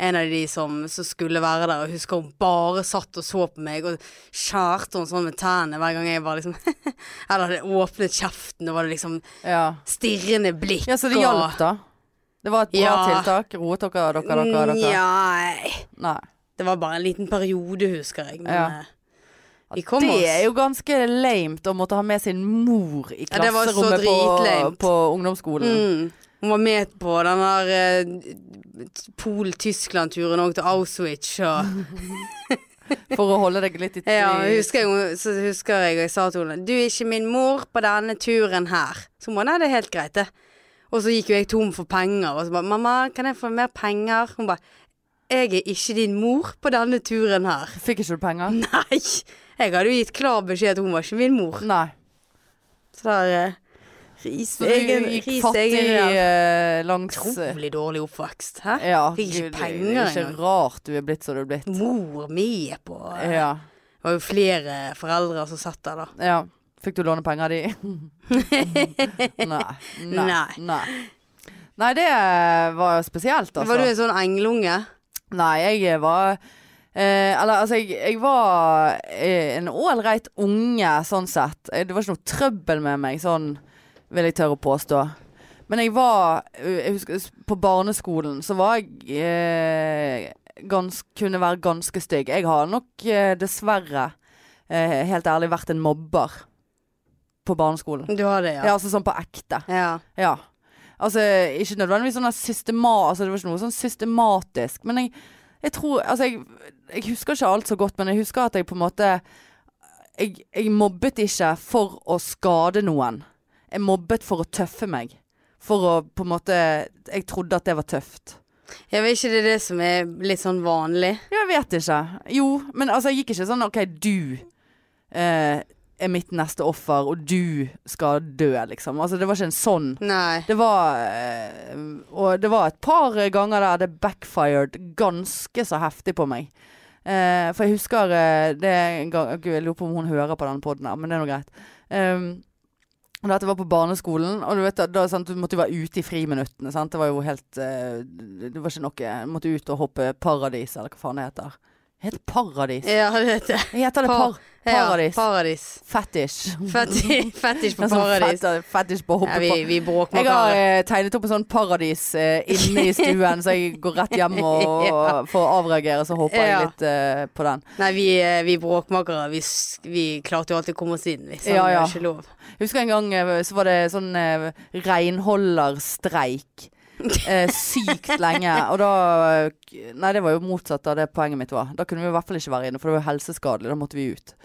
Speaker 1: en av de som, som skulle være der, og jeg husker hun bare satt og så på meg, og skjærte hun sånn med tennene hver gang jeg var liksom Eller hadde åpnet kjeften, og var det liksom
Speaker 2: Ja.
Speaker 1: stirrende blikk
Speaker 2: ja, så det hjalp, da? Det var et bra
Speaker 1: Ja.
Speaker 2: tiltak? Roet dere dere? dere, dere?
Speaker 1: Nei.
Speaker 2: Nei.
Speaker 1: Det var bare en liten periode, husker jeg. Men
Speaker 2: Ja.
Speaker 1: eh, vi kom
Speaker 2: det
Speaker 1: oss.
Speaker 2: er jo ganske lamet å måtte ha med sin mor i
Speaker 1: Ja, det var så
Speaker 2: klasserommet på,
Speaker 1: dritlamet.
Speaker 2: på ungdomsskolen.
Speaker 1: mm. Hun var med på den der eh, Pol-Tyskland-turen òg, til Auschwitz og
Speaker 2: for å holde deg litt i
Speaker 1: Ja, husker jeg, så husker jeg jeg sa til henne Du er ikke min mor på denne turen her. Så må hun, nei, det er helt greit, det. Og så gikk jo jeg tom for penger. Og så bare Mamma, kan jeg få mer penger? Hun bare Jeg er ikke din mor på denne turen her.
Speaker 2: Fikk ikke du penger?
Speaker 1: Nei! Jeg hadde jo gitt klar beskjed at hun var ikke min mor.
Speaker 2: Nei.
Speaker 1: Så der eh, Ris
Speaker 2: Så du gikk fattig eh, langs
Speaker 1: Utrolig dårlig oppvokst. Hæ?
Speaker 2: Ja.
Speaker 1: Fikk ikke
Speaker 2: gud,
Speaker 1: penger
Speaker 2: det er
Speaker 1: engang.
Speaker 2: Ikke rart du er blitt som du er blitt.
Speaker 1: Mor mi er på eh, Det
Speaker 2: Ja.
Speaker 1: var jo flere foreldre som satt der, da.
Speaker 2: ja. Fikk du låne penger av de? Nei. Nei.
Speaker 1: Nei.
Speaker 2: Nei. Nei, det var jo spesielt, altså.
Speaker 1: Var du en sånn englunge?
Speaker 2: Nei, jeg var eh, Eller altså, jeg, jeg var eh, en ålreit unge, sånn sett. Eh, Det var ikke noe trøbbel med meg, sånn vil jeg tørre å påstå. Men jeg var eh, jeg husker, s- På barneskolen så var jeg eh, gans, Kunne være ganske stygg. Jeg har nok eh, dessverre, eh, helt ærlig, vært en mobber på barneskolen.
Speaker 1: Du har det,
Speaker 2: Ja.
Speaker 1: ja.
Speaker 2: altså sånn på ekte.
Speaker 1: ja.
Speaker 2: Ja. Altså, ikke nødvendigvis sånn der systema... Altså, det var ikke noe sånn systematisk. Men jeg, jeg tror Altså, jeg, jeg husker ikke alt så godt, men jeg husker at jeg på en måte jeg, jeg mobbet ikke for å skade noen. Jeg mobbet for å tøffe meg. For å på en måte Jeg trodde at det var tøft.
Speaker 1: Jeg vet ikke det er det som er litt sånn vanlig.
Speaker 2: Jeg vet ikke. Jo, men altså, jeg gikk ikke sånn OK, du eh, er mitt neste offer, og du skal dø, liksom. Altså, det var ikke en sånn
Speaker 1: Nei.
Speaker 2: Det var eh, Og det var et par ganger der det backfired ganske så heftig på meg. Eh, for jeg husker eh, det en gang Gud, jeg lurer på om hun hører på denne poden her, men det er nå greit. Um, og dette var på barneskolen, og du vet da, da sant, du måtte jo være ute i friminuttene. Sant? Det var jo helt eh, Det var ikke noe Jeg måtte ut og hoppe paradis, eller hva faen det heter. Heter det paradis?
Speaker 1: Ja, det vet jeg.
Speaker 2: Heter det
Speaker 1: Par-
Speaker 2: par paradis?
Speaker 1: Ja, paradis.
Speaker 2: Fetish.
Speaker 1: Fetish, fetish på
Speaker 2: Det er sånn
Speaker 1: paradis.
Speaker 2: fet- Fetish på å hoppe
Speaker 1: Ja, vi,
Speaker 2: på
Speaker 1: vi bråker
Speaker 2: jeg har
Speaker 1: med
Speaker 2: eh, tegnet opp en sånn paradis eh, inne i stuen, så jeg går rett hjem og, og får avreagere, så håper
Speaker 1: Ja.
Speaker 2: jeg litt eh, på den.
Speaker 1: Nei, vi, eh, vi bråkmakere. Vi, s- vi klarte jo alltid å komme oss inn, vi. Så
Speaker 2: Ja,
Speaker 1: det er
Speaker 2: ja.
Speaker 1: ikke lov.
Speaker 2: Jeg husker en gang eh, så var det sånn eh, renholderstreik. Eh, sykt lenge. Og da eh, Nei, det var jo motsatt av det poenget mitt var. Da kunne vi i hvert fall ikke være inne, for det var jo helseskadelig. Da måtte vi ut.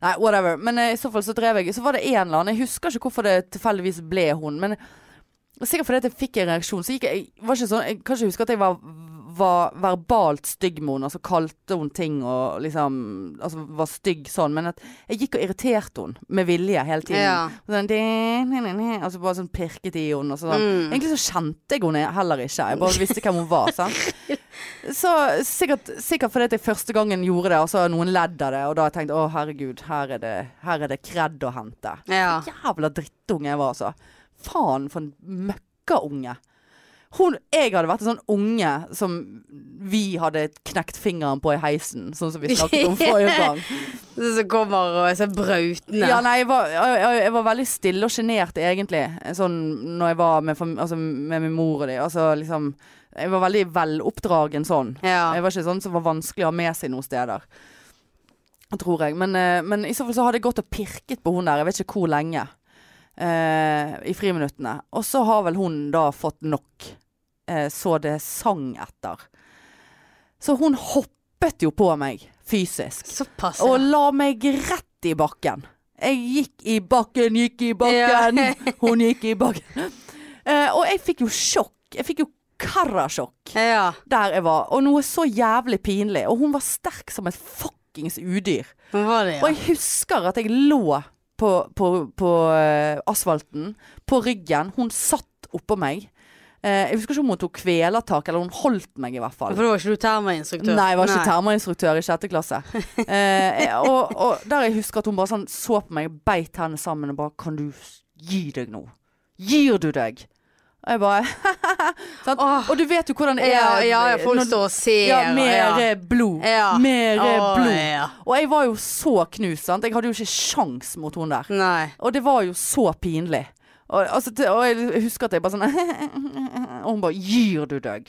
Speaker 2: Nei, whatever. Men eh, i så fall så drev jeg Så var det en eller annen. Jeg husker ikke hvorfor det tilfeldigvis ble hun, men sikkert fordi at jeg fikk en reaksjon. Så gikk jeg, jeg var ikke sånn Jeg kan ikke huske at jeg var var verbalt stygg med henne, altså kalte hun ting og liksom Altså var stygg sånn, men at jeg gikk og irriterte henne med vilje hele tiden.
Speaker 1: Ja.
Speaker 2: Sånn, din, din, din, din, og så bare sånn pirket i henne. Og sånn.
Speaker 1: Mm.
Speaker 2: Egentlig så kjente jeg henne heller ikke. Jeg bare visste hvem hun var. Sant? Så sikkert, sikkert fordi at jeg første gangen gjorde det, og så har noen ledd av det, og da har jeg tenkt å herregud, her er det, her er det kred å hente.
Speaker 1: Ja.
Speaker 2: Jævla drittunge jeg var, altså. Faen for en møkkaunge. Hun, jeg hadde vært en sånn unge som vi hadde knekt fingeren på i heisen, sånn som vi snakket om forrige gang.
Speaker 1: Så, så kommer og er så brautende.
Speaker 2: Ja, nei, jeg var, jeg, jeg- jeg var veldig stille og sjenert egentlig. Sånn når jeg var med, fam- altså, med min mor og de. Altså liksom Jeg var veldig veloppdragen sånn.
Speaker 1: Ja.
Speaker 2: Jeg var ikke sånn som var vanskelig å ha med seg noen steder. Tror jeg. Men, eh, men i så fall så hadde jeg gått og pirket på hun der, jeg vet ikke hvor lenge. eh, I friminuttene. Og så har vel hun da fått nok. Eh, så det sang etter. Så hun hoppet jo på meg fysisk.
Speaker 1: Såpass.
Speaker 2: Og
Speaker 1: ja.
Speaker 2: la meg rett i bakken. Jeg gikk i bakken, gikk i bakken. Hun gikk i bakken. Eh, og jeg fikk jo sjokk. Jeg fikk jo karasjokk
Speaker 1: Ja.
Speaker 2: der jeg var. Og noe så jævlig pinlig. Og hun var sterk som et fuckings udyr.
Speaker 1: Hva var det,
Speaker 2: Og
Speaker 1: ja?
Speaker 2: jeg husker at jeg lå på, på, på eh, asfalten, på ryggen. Hun satt oppå meg. Eh, jeg husker ikke om hun tok kvelertak, eller hun holdt meg i hvert fall.
Speaker 1: For da var ikke du termainstruktør?
Speaker 2: Nei, jeg var ikke termainstruktør i sjette klasse. Eh, og, og der jeg husker at hun bare sånn så på meg, beit hendene sammen og bare Kan du s- gi deg nå? Gir du deg? Og jeg bare sant?
Speaker 1: Åh.
Speaker 2: Og du vet jo hvordan det er
Speaker 1: Ja, ja, ja, folk
Speaker 2: når-
Speaker 1: står og ser.
Speaker 2: ja,
Speaker 1: og-
Speaker 2: mer
Speaker 1: ja.
Speaker 2: eh, blod.
Speaker 1: Ja.
Speaker 2: Mer eh,
Speaker 1: Åh,
Speaker 2: blod.
Speaker 1: ja.
Speaker 2: Og jeg var jo så knust, sant. Jeg hadde jo ikke sjans mot hun der.
Speaker 1: Nei.
Speaker 2: Og det var jo så pinlig. Og, altså, det- og jeg husker at jeg bare sånn Og hun bare 'Gir du deg?'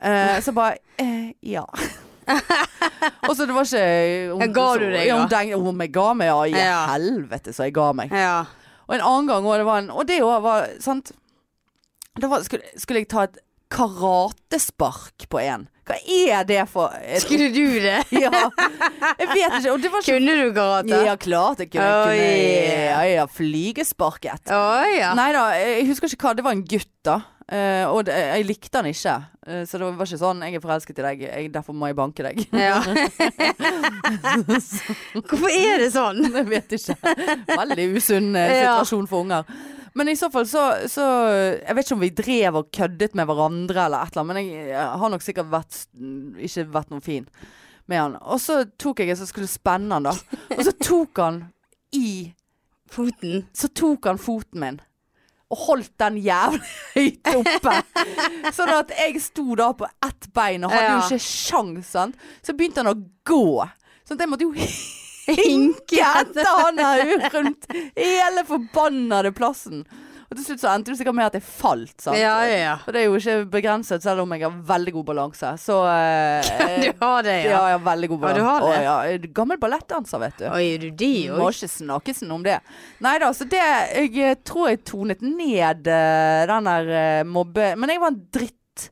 Speaker 2: Eh, så bare eh, 'Ja'. og så det var ikke eh, hun,
Speaker 1: Ja, ga du deg,
Speaker 2: ja, hun,
Speaker 1: da?
Speaker 2: deng, hun jeg ga meg, ja. I
Speaker 1: Ja.
Speaker 2: helvete, så jeg ga meg.
Speaker 1: Ja.
Speaker 2: Og en annen gang òg, det var en Og det òg var sant da var, skulle, skulle jeg ta et karatespark på en. Hva er det for et-
Speaker 1: Skulle du det?
Speaker 2: Ja, jeg vet ikke. Og det var ikke
Speaker 1: Kunne du karate?
Speaker 2: Ja, klart jeg kunne.
Speaker 1: Oi.
Speaker 2: kunne ja, ja, flygesparket.
Speaker 1: Å ja.
Speaker 2: Nei da, jeg husker ikke hva. Det var en gutt, da. Eh, og det, jeg likte han ikke. Eh, så det var ikke sånn 'jeg er forelsket i deg, jeg, derfor må jeg banke deg'.
Speaker 1: Ja. Hvorfor er det sånn?
Speaker 2: Jeg vet ikke. Veldig usunn eh,
Speaker 1: Ja.
Speaker 2: situasjon for unger. Men i så fall så, så Jeg vet ikke om vi drev og køddet med hverandre eller et eller annet, men jeg, jeg har nok sikkert vært, ikke vært noe fin med han. Og så tok jeg en som skulle spenne han, da. Og så tok han i
Speaker 1: Foten.
Speaker 2: Så tok han foten min. Og holdt den jævlig høyt oppe. Sånn at jeg sto da på ett bein og hadde
Speaker 1: Ja.
Speaker 2: jo ikke sjans, sant. Så begynte han å gå. Sånn at jeg måtte jo hinke etter han her rundt hele forbannede plassen. Og til slutt så endte det sikkert med at jeg falt, sant.
Speaker 1: Ja, ja, ja.
Speaker 2: Og det er jo ikke begrenset, selv om jeg har veldig god balanse. Så eh,
Speaker 1: Du har det,
Speaker 2: ja,
Speaker 1: ja.
Speaker 2: jeg har veldig god
Speaker 1: Ja, du
Speaker 2: balanse.
Speaker 1: har det.
Speaker 2: Å, ja. jeg er Gammel ballettdanser, vet du.
Speaker 1: Oi, er du de
Speaker 2: Må
Speaker 1: òg?
Speaker 2: ikke snakke sånn om det. Nei da, så det Jeg eh, tror jeg tonet ned eh, den der eh, mobbe... Men jeg var en dritt.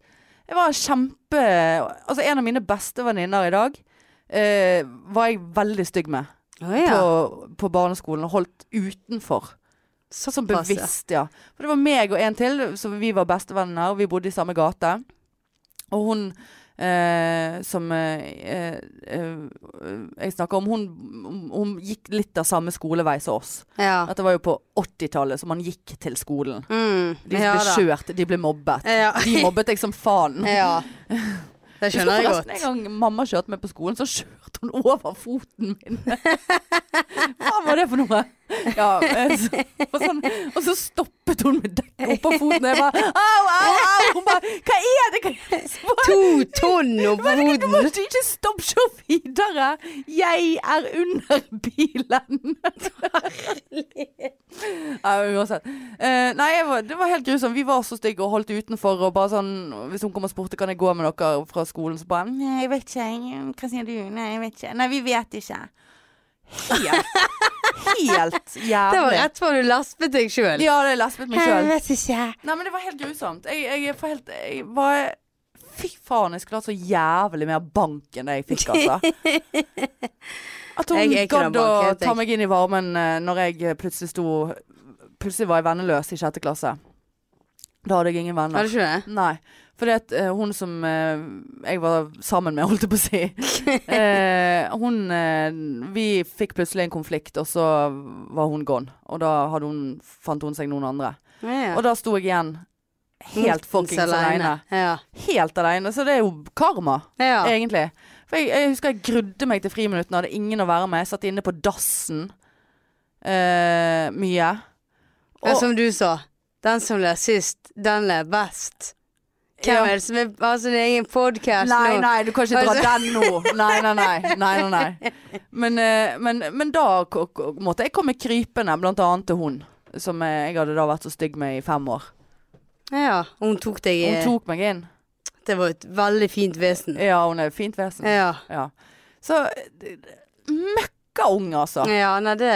Speaker 2: Jeg var kjempe Altså, en av mine beste venninner i dag eh, var jeg veldig stygg med
Speaker 1: Å ja.
Speaker 2: på, på barneskolen og holdt utenfor. Som
Speaker 1: Såpass, ja.
Speaker 2: bevisst, ja. For det var meg og en til, så vi var bestevenner, og vi bodde i samme gate. Og hun eh, som eh, eh, jeg snakker om, hun, hun gikk litt av samme skolevei som oss.
Speaker 1: ja.
Speaker 2: Dette var jo på 80-tallet, så man gikk til skolen.
Speaker 1: Mm.
Speaker 2: De
Speaker 1: ja,
Speaker 2: ble
Speaker 1: da.
Speaker 2: kjørt, de ble mobbet.
Speaker 1: Ja.
Speaker 2: De mobbet jeg som faen.
Speaker 1: ja. Det
Speaker 2: Jeg
Speaker 1: skjønner jeg
Speaker 2: husker forresten
Speaker 1: godt.
Speaker 2: En gang mamma kjørte meg på skolen, så kjørte hun over foten min. Hva var det for noe? Ja, eh, så, og, sånn, og så stoppet hun med dekket oppå foten, og jeg bare au, au, au. Hun bare hva er det? Hva er det? Så bare,
Speaker 1: To tonn oppå
Speaker 2: men du
Speaker 1: hoden.
Speaker 2: må ikke stoppe så videre! Jeg er under bilen! Nei, men uansett. Eh, nei, jeg var, det var helt grusomt. Vi var så stygge og holdt utenfor. Og bare sånn, Hvis hun kom og spurte kan jeg gå med dere fra skolen, så bare Nei, jeg vet ikke. jeg- Hva sier du? Nei, jeg vet ikke. Nei, vi vet ikke. Helt, helt jævlig.
Speaker 1: Det var rett før du laspet deg sjøl.
Speaker 2: Ja, det lespet meg sjøl.
Speaker 1: vet ikke.
Speaker 2: Nei, men det var helt grusomt. Jeg, jeg, er for helt, jeg var Fy faen, jeg skulle hatt så jævlig mer bank enn det jeg fikk, altså. At hun
Speaker 1: Jeg er ikke den
Speaker 2: gadd å
Speaker 1: banken, jeg.
Speaker 2: ta meg inn i varmen eh, når jeg plutselig sto Plutselig var jeg venneløs i sjette klasse. Da hadde jeg ingen venner.
Speaker 1: Var det ikke det?
Speaker 2: Nei. Fordi at eh, hun som eh, jeg var sammen med, holdt jeg på å si eh, Hun eh, Vi fikk plutselig en konflikt, og så var hun gone. Og da hadde hun, fant hun seg noen andre.
Speaker 1: Ja.
Speaker 2: Og da sto jeg igjen helt fuckings aleine.
Speaker 1: Ja.
Speaker 2: Helt aleine. Så det er jo karma,
Speaker 1: ja.
Speaker 2: egentlig. For jeg, jeg husker jeg grudde meg til friminuttene, hadde ingen å være med. Jeg satt inne på dassen eh, mye.
Speaker 1: Men sånn som du sa, den som ler sist, den ler best. Hvem
Speaker 2: Ja.
Speaker 1: er det som er, har sin egen podkast nå?
Speaker 2: Nei, nei, du kan ikke dra
Speaker 1: Altså-
Speaker 2: den nå. Nei, nei, nei. nei, nei, nei. Men, eh, men, men da k- k- måtte jeg komme krypende, blant annet til hun. Som eh, jeg hadde da vært så stygg med i fem år.
Speaker 1: Ja, hun tok deg i
Speaker 2: Hun tok meg inn.
Speaker 1: Det var et veldig fint vesen.
Speaker 2: Ja, hun er et fint vesen.
Speaker 1: Ja.
Speaker 2: Ja. Så d- d- møkkaung, altså.
Speaker 1: Ja, nei, det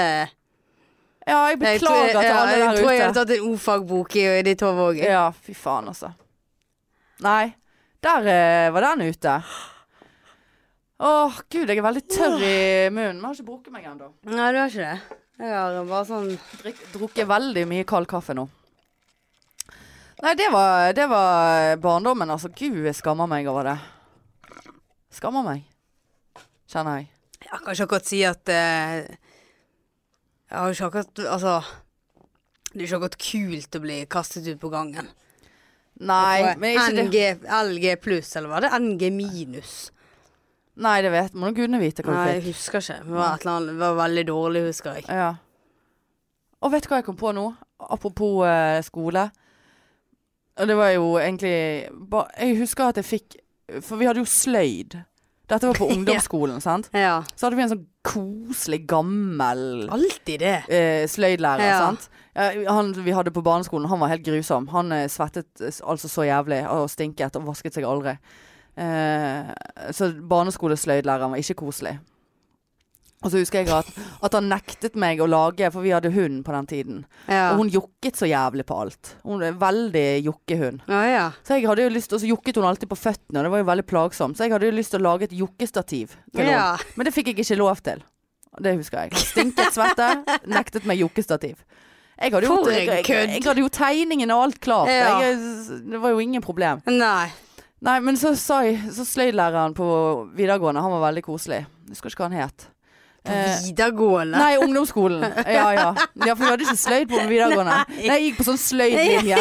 Speaker 2: Ja, jeg
Speaker 1: Jeg tror-
Speaker 2: beklager til
Speaker 1: ja,
Speaker 2: alle
Speaker 1: Jeg tror jeg hadde
Speaker 2: der ute.
Speaker 1: tatt en o-fagbok i i ditt hode òg.
Speaker 2: Ja, fy faen, altså. Nei, der eh, var den ute. Åh, gud, jeg er veldig tørr i munnen. Men jeg har ikke brukket meg ennå.
Speaker 1: Nei, du har ikke det. Jeg har bare sånn
Speaker 2: Drikk- Drukket veldig mye kald kaffe nå. Nei, det var, det var barndommen, altså. Gud, jeg skammer meg over det. Skammer meg. Kjenner jeg.
Speaker 1: Jeg kan ikke akkurat si at eh, Jeg har ikke akkurat Altså Det er ikke akkurat kult å bli kastet ut på gangen.
Speaker 2: Nei,
Speaker 1: Og
Speaker 2: men ikke det.
Speaker 1: NG, LG pluss, eller var det NG minus?
Speaker 2: Nei, det vet må nå gudene vite hva
Speaker 1: Nei,
Speaker 2: du
Speaker 1: jeg
Speaker 2: fikk.
Speaker 1: husker ikke. Det var, et eller annet, det var veldig dårlig, husker jeg.
Speaker 2: Ja. Og vet du hva jeg kom på nå? Apropos eh, skole. Og det var jo egentlig ba, Jeg husker at jeg fikk For vi hadde jo sløyd. Dette var på ungdomsskolen, sant?
Speaker 1: Ja.
Speaker 2: Så hadde vi en sånn koselig, gammel
Speaker 1: Alltid det.
Speaker 2: eh, sløydlærer,
Speaker 1: Ja.
Speaker 2: sant. Eh, han vi hadde på barneskolen, han var helt grusom. Han eh, svettet eh, s- altså så jævlig og stinket og vasket seg aldri. Eh, så barneskolesløydlæreren var ikke koselig. Og så husker jeg at, at han nektet meg å lage, for vi hadde hund på den tiden.
Speaker 1: Ja.
Speaker 2: Og hun jokket så jævlig på alt. Hun er en veldig jokkehund.
Speaker 1: Å ja.
Speaker 2: Så jeg hadde jo lyst, og så jokket hun alltid på føttene, og det var jo veldig plagsomt. Så jeg hadde jo lyst til å lage et jokkestativ til henne.
Speaker 1: Ja.
Speaker 2: Men det fikk jeg ikke lov til. Det husker jeg. Stinket svette, nektet meg jokkestativ. Jeg
Speaker 1: For
Speaker 2: hadde, gjort,
Speaker 1: en
Speaker 2: jeg, jeg,
Speaker 1: kødd.
Speaker 2: jeg hadde jo tegningen og alt klart.
Speaker 1: Ja.
Speaker 2: Jeg, eh, det var jo ingen problem.
Speaker 1: Nei.
Speaker 2: Nei, men så, sa jeg- så sløydlæreren på videregående, han var veldig koselig. Jeg husker ikke hva han het.
Speaker 1: På
Speaker 2: Eh,
Speaker 1: videregående.
Speaker 2: Nei, ungdomsskolen. Ja, ja. ja for vi hadde ikke sløyd på videregående. Nei, jeg gikk på sånn sløydlinje.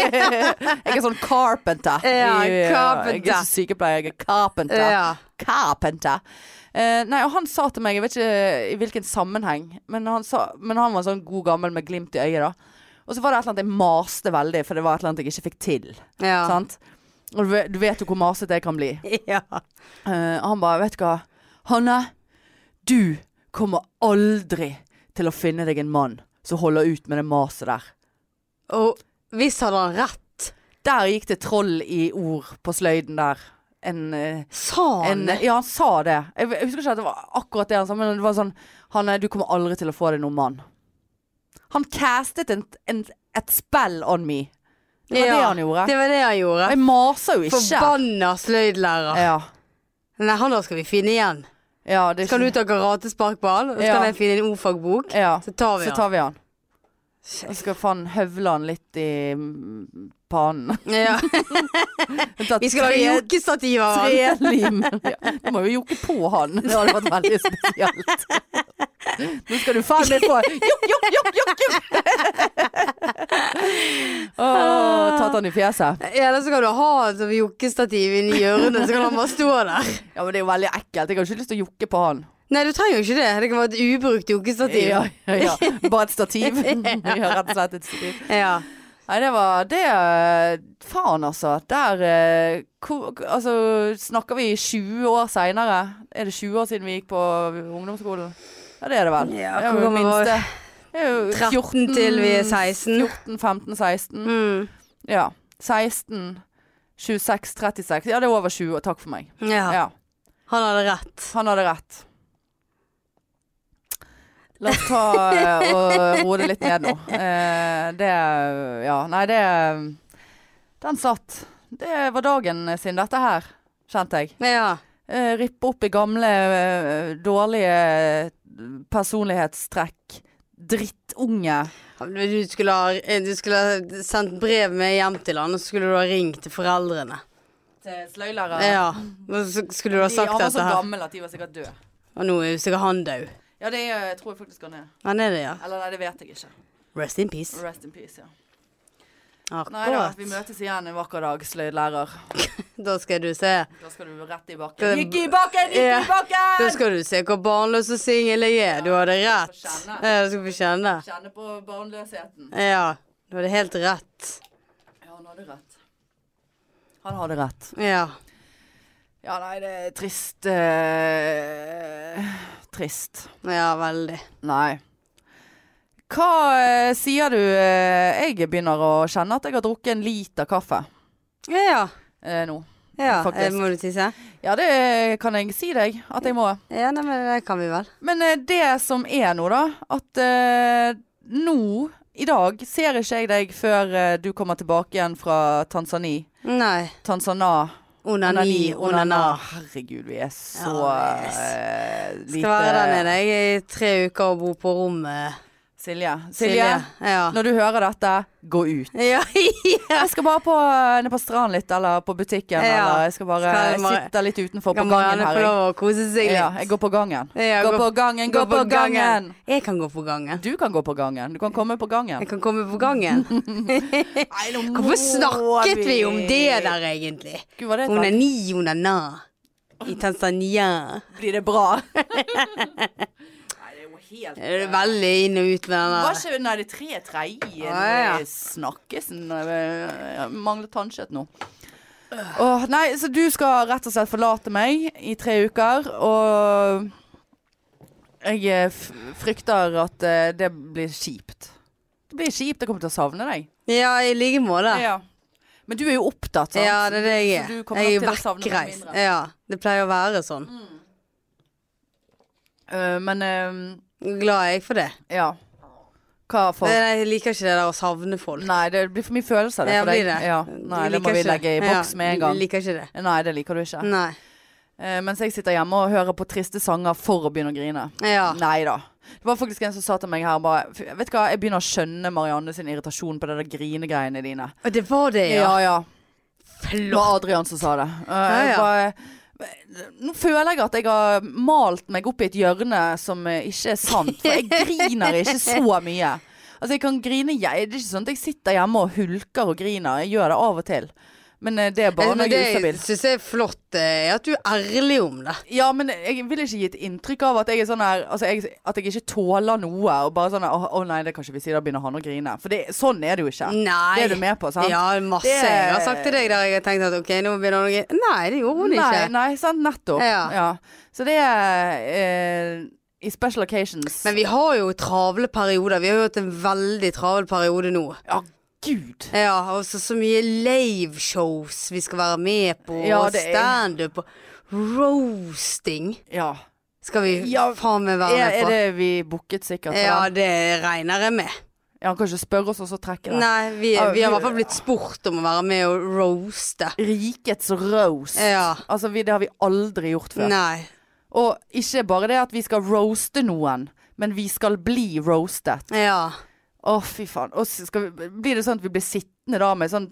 Speaker 2: jeg er sånn carpenter.
Speaker 1: Ja, carpenter.
Speaker 2: Jeg er ikke sykepleier, jeg er carpenter.
Speaker 1: Ja.
Speaker 2: Carpenter. Eh, nei, og han sa til meg, jeg vet ikke eh, i hvilken sammenheng, men han, sa, men han var sånn god gammel med glimt i øyet, da. Og så var det et eller annet jeg maste veldig, for det var et eller annet jeg ikke fikk til.
Speaker 1: Ja.
Speaker 2: Sant? Og du vet- du vet jo hvor masete jeg kan bli.
Speaker 1: Sånn. Ja.
Speaker 2: Eh, han bare, vet du hva Hanne, du kommer aldri til å finne deg en mann Som holder ut med det maset der
Speaker 1: Og hvis hadde han rett,
Speaker 2: Der gikk det troll i ord på sløyden der En, eh,
Speaker 1: sa han
Speaker 2: en
Speaker 1: det?
Speaker 2: Ja, han sa det jeg, jeg husker ikke at det var akkurat det han sa Men det var sånn, Hanne, du kommer aldri til å få deg noen mann Han castet en, en, et spell on me Det var
Speaker 1: Ja,
Speaker 2: det han gjorde
Speaker 1: Det var det han gjorde.
Speaker 2: Jeg maser jo ikke
Speaker 1: Forbanna sløydlærer.
Speaker 2: ja.
Speaker 1: Nei, han der skal vi finne igjen.
Speaker 2: Ja, det er
Speaker 1: Skal du
Speaker 2: ikke-
Speaker 1: ta karatesparkball, og så kan
Speaker 2: Ja.
Speaker 1: jeg finne en ordfagbok,
Speaker 2: Ja,
Speaker 1: så tar vi
Speaker 2: så
Speaker 1: han.
Speaker 2: tar vi han Jeg skal faen høvle han litt i mm, pannen.
Speaker 1: Ja. Vi skal lage jokestativ av han.
Speaker 2: trelim. Ja, du må jo jokke på han. Det hadde vært veldig spesielt. Nå skal du faen meg få jokk, jokk, jokk, jokk! jokk. Åh, tatt han i fjeset.
Speaker 1: Eller så kan du ha han som jokkestativ inni hjørnet, så kan han bare stå der.
Speaker 2: Ja, men det er jo veldig ekkelt. Jeg har ikke lyst til å jokke på han.
Speaker 1: Nei, du trenger jo ikke det. Det kan være et ubrukt jokkestativ.
Speaker 2: Ja, ja, ja. Bare et stativ. Ja, rett og slett et stativ.
Speaker 1: Ja.
Speaker 2: Nei, det var det eh, Faen, altså. Der eh, hvor, Altså, snakker vi 20 år seinere? Er det 20 år siden vi gikk på ungdomsskolen? Ja, det er det vel.
Speaker 1: Ja,
Speaker 2: Det er
Speaker 1: hvor
Speaker 2: jo
Speaker 1: gammel var
Speaker 2: minste. Det er jo
Speaker 1: 13 til vi er 16.
Speaker 2: 14, 15, 16.
Speaker 1: Mm.
Speaker 2: Ja. 16, 26, 36. Ja, det er over 20 år. Takk for meg.
Speaker 1: ja.
Speaker 2: Ja.
Speaker 1: Han hadde rett.
Speaker 2: Han hadde rett. La oss ta eh, og roe det litt ned nå. Eh, det Ja, nei, det Den satt. Det var dagen sin, dette her, kjente jeg.
Speaker 1: Ja.
Speaker 2: Eh, rippe opp i gamle, eh, dårlige eh, personlighetstrekk. Drittunge.
Speaker 1: Du skulle, ha, du skulle ha sendt brev med hjem til han, og så skulle du ha ringt til foreldrene.
Speaker 2: eh, Sløylærere.
Speaker 1: Ja. Og så skulle du ha sagt
Speaker 2: han var
Speaker 1: dette
Speaker 2: så
Speaker 1: her.
Speaker 2: gammel at de var sikkert døde.
Speaker 1: Og nå er jo sikkert han død.
Speaker 2: Ja, det er- tror jeg faktisk han er.
Speaker 1: Han er det, ja.
Speaker 2: Eller nei, det vet jeg ikke.
Speaker 1: Rest in peace.
Speaker 2: Rest in peace, ja. Nei da,
Speaker 1: Akkurat.
Speaker 2: vi møtes igjen en vakker dag, sløydlærer.
Speaker 1: Da skal du se.
Speaker 2: Da skal du rett i
Speaker 1: Det-
Speaker 2: bakken. Gikk i bakken, gikk
Speaker 1: Ja.
Speaker 2: i bakken!
Speaker 1: Da skal du se hvor barnløs og singel jeg er. Du hadde
Speaker 2: du
Speaker 1: rett.
Speaker 2: skal få kjenne.
Speaker 1: Ja, du skal få kjenne.
Speaker 2: Kjenne på barnløsheten.
Speaker 1: Ja. Du hadde helt rett.
Speaker 2: Ja, han hadde rett. Han hadde rett.
Speaker 1: Ja.
Speaker 2: Ja, nei, det er trist. eh, trist.
Speaker 1: Ja, veldig.
Speaker 2: Nei. Hva eh, sier du? eh, jeg begynner å kjenne at jeg har drukket en liter kaffe
Speaker 1: Ja, ja.
Speaker 2: eh, nå.
Speaker 1: ja.
Speaker 2: Faktisk.
Speaker 1: eh, Må du tisse?
Speaker 2: Ja, det kan jeg si deg at jeg må.
Speaker 1: Ja, nei, men det kan vi vel.
Speaker 2: Men eh, det som er nå, da At eh, nå, i dag, ser ikke jeg deg før eh, du kommer tilbake igjen fra Tanzani.
Speaker 1: Nei.
Speaker 2: Tanzana.
Speaker 1: Onani, onana.
Speaker 2: Herregud, vi er så
Speaker 1: Ja, vi er s-
Speaker 2: eh, lite
Speaker 1: Skal være der nede jeg, i tre uker og bo på rommet.
Speaker 2: Silje. Silje.
Speaker 1: Ja.
Speaker 2: Når du hører dette, gå ut.
Speaker 1: ja.
Speaker 2: Jeg skal bare på, ned på stranden litt, eller på butikken,
Speaker 1: Ja.
Speaker 2: eller jeg skal bare
Speaker 1: Skal jeg bare-
Speaker 2: sitte litt utenfor på
Speaker 1: Kan
Speaker 2: gangen
Speaker 1: Marianne få
Speaker 2: her. jeg.
Speaker 1: lov å kose seg litt?
Speaker 2: Ja, jeg går på gangen.
Speaker 1: Ja,
Speaker 2: Gå på gangen, gå på gangen!
Speaker 1: Jeg kan gå på gangen.
Speaker 2: Du kan gå på gangen. Du kan komme på gangen.
Speaker 1: Jeg kan komme på gangen.
Speaker 2: Nei, nå må
Speaker 1: Hvorfor snakket vi om det der, egentlig?
Speaker 2: Gud, var det et
Speaker 1: Hun er
Speaker 2: valg?
Speaker 1: ni, hun er na. I Tanzania.
Speaker 2: Blir det bra? Nei, det er jo helt
Speaker 1: Er du Veldig inn og ut med den
Speaker 2: Var
Speaker 1: der.
Speaker 2: ikke Nei, det er tre tredje
Speaker 1: Ah, ja.
Speaker 2: snakkesen Jeg Mangler tannkjøtt nå. Åh, nei, så du skal rett og slett forlate meg i tre uker, og jeg eh, f- frykter at eh, det blir kjipt. Det blir kjipt. Jeg kommer til å savne deg.
Speaker 1: Ja, i like måte.
Speaker 2: Ja. Men du er jo opptatt, sant?
Speaker 1: Ja, det er det jeg
Speaker 2: Så
Speaker 1: er.
Speaker 2: du kommer
Speaker 1: Jeg
Speaker 2: nok
Speaker 1: er
Speaker 2: til å savne meg
Speaker 1: vekkreist.
Speaker 2: mindre.
Speaker 1: Ja, det pleier å være sånn.
Speaker 2: Eh, men eh,
Speaker 1: Glad er jeg for det.
Speaker 2: ja. Hva for?
Speaker 1: Nei, nei, jeg liker ikke det der å savne folk.
Speaker 2: Nei, det blir for mye følelser.
Speaker 1: Ja,
Speaker 2: for deg.
Speaker 1: blir det.
Speaker 2: Ja. Nei,
Speaker 1: Jeg
Speaker 2: det må
Speaker 1: liker
Speaker 2: vi
Speaker 1: ikke
Speaker 2: legge i boks
Speaker 1: Ja,
Speaker 2: med en gang.
Speaker 1: Liker Mm. ikke det.
Speaker 2: Nei, det liker du ikke.
Speaker 1: Nei.
Speaker 2: Eh, mens jeg sitter hjemme og hører på triste sanger for å begynne å grine.
Speaker 1: Ja.
Speaker 2: Nei da. Det var faktisk en som sa til meg her bare "Fy, Vet du hva, jeg begynner å skjønne Marianne sin irritasjon på det der grinegreiene dine.
Speaker 1: Og det var det, ja.
Speaker 2: Ja ja. Det
Speaker 1: Flott.
Speaker 2: var Adrian som sa det. Eh,
Speaker 1: Ja, ja.
Speaker 2: Bare, nå føler jeg at jeg har malt meg opp i et hjørne som eh, ikke er sant. For jeg griner ikke så mye. Altså jeg kan grine jeg, Det er ikke sånn at jeg sitter hjemme og hulker og griner. Jeg gjør det av og til. Men eh, det er bare
Speaker 1: Men
Speaker 2: når jeg er
Speaker 1: det
Speaker 2: ustabil.
Speaker 1: syns jeg er flott, eh, at du er ærlig om det.
Speaker 2: Ja, men jeg vil ikke gi et inntrykk av at jeg er sånn her altså jeg, At jeg ikke tåler noe. Og bare sånn her, Å å nei, det kan ikke vi si. Da begynner han å grine. For det, sånn er det jo ikke.
Speaker 1: Nei.
Speaker 2: Det er du med på, sant?
Speaker 1: Ja, masse.
Speaker 2: Det-
Speaker 1: Jeg har sagt til deg der jeg har tenkt at ok, nå begynner hun å grine. Nei, det gjorde hun
Speaker 2: nei,
Speaker 1: ikke.
Speaker 2: nei, sant. Nettopp. Ja.
Speaker 1: Ja.
Speaker 2: Så det er eh, I special occasions
Speaker 1: Men vi har jo travle perioder. Vi har jo hatt en veldig travel periode nå.
Speaker 2: Ja, gud.
Speaker 1: Ja, og så så mye liveshows vi skal være med på,
Speaker 2: Ja,
Speaker 1: og
Speaker 2: det er-
Speaker 1: standup og roasting
Speaker 2: Ja.
Speaker 1: skal vi
Speaker 2: Ja,
Speaker 1: faen meg
Speaker 2: Er,
Speaker 1: være med
Speaker 2: er
Speaker 1: på.
Speaker 2: det vi booket sikkert? for
Speaker 1: Ja,
Speaker 2: den?
Speaker 1: det regner jeg med.
Speaker 2: ja, han kan ikke spørre oss og så trekke det.
Speaker 1: Nei, vi,
Speaker 2: Ja,
Speaker 1: vi har i
Speaker 2: vi-
Speaker 1: hvert fall blitt spurt om å være med og roaste.
Speaker 2: Rikets roast.
Speaker 1: Ja.
Speaker 2: Altså, vi, det har vi aldri gjort før.
Speaker 1: Nei.
Speaker 2: Og ikke bare det at vi skal roaste noen, men vi skal bli roastet.
Speaker 1: Ja.
Speaker 2: Å, fy faen. Og så skal vi, blir det sånn at vi blir sittende da med sånn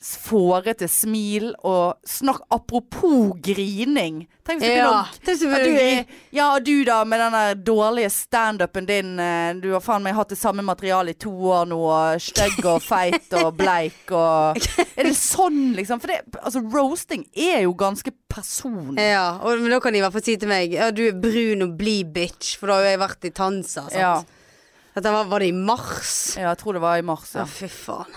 Speaker 2: s- fårete smil og snakk Apropos grining. Tenk hvis du
Speaker 1: Ja.
Speaker 2: begynner å
Speaker 1: Det er
Speaker 2: ja, du,
Speaker 1: selvfølgelig
Speaker 2: er- ja, og du da, med den der dårlige standupen din. eh, Du har faen meg hatt det samme materialet i to år nå. og Stygg og feit og bleik og Er det sånn, liksom? For det, altså, roasting er jo ganske personlig.
Speaker 1: Ja, og, men da kan de i hvert fall si til meg Ja, du er brun og blid bitch, for da har jo jeg vært i Tanza. Sant?
Speaker 2: Ja.
Speaker 1: Dette var, var det i mars?
Speaker 2: altså. ja, jeg tror det var i mars.
Speaker 1: Ja,
Speaker 2: Ja.
Speaker 1: fy faen.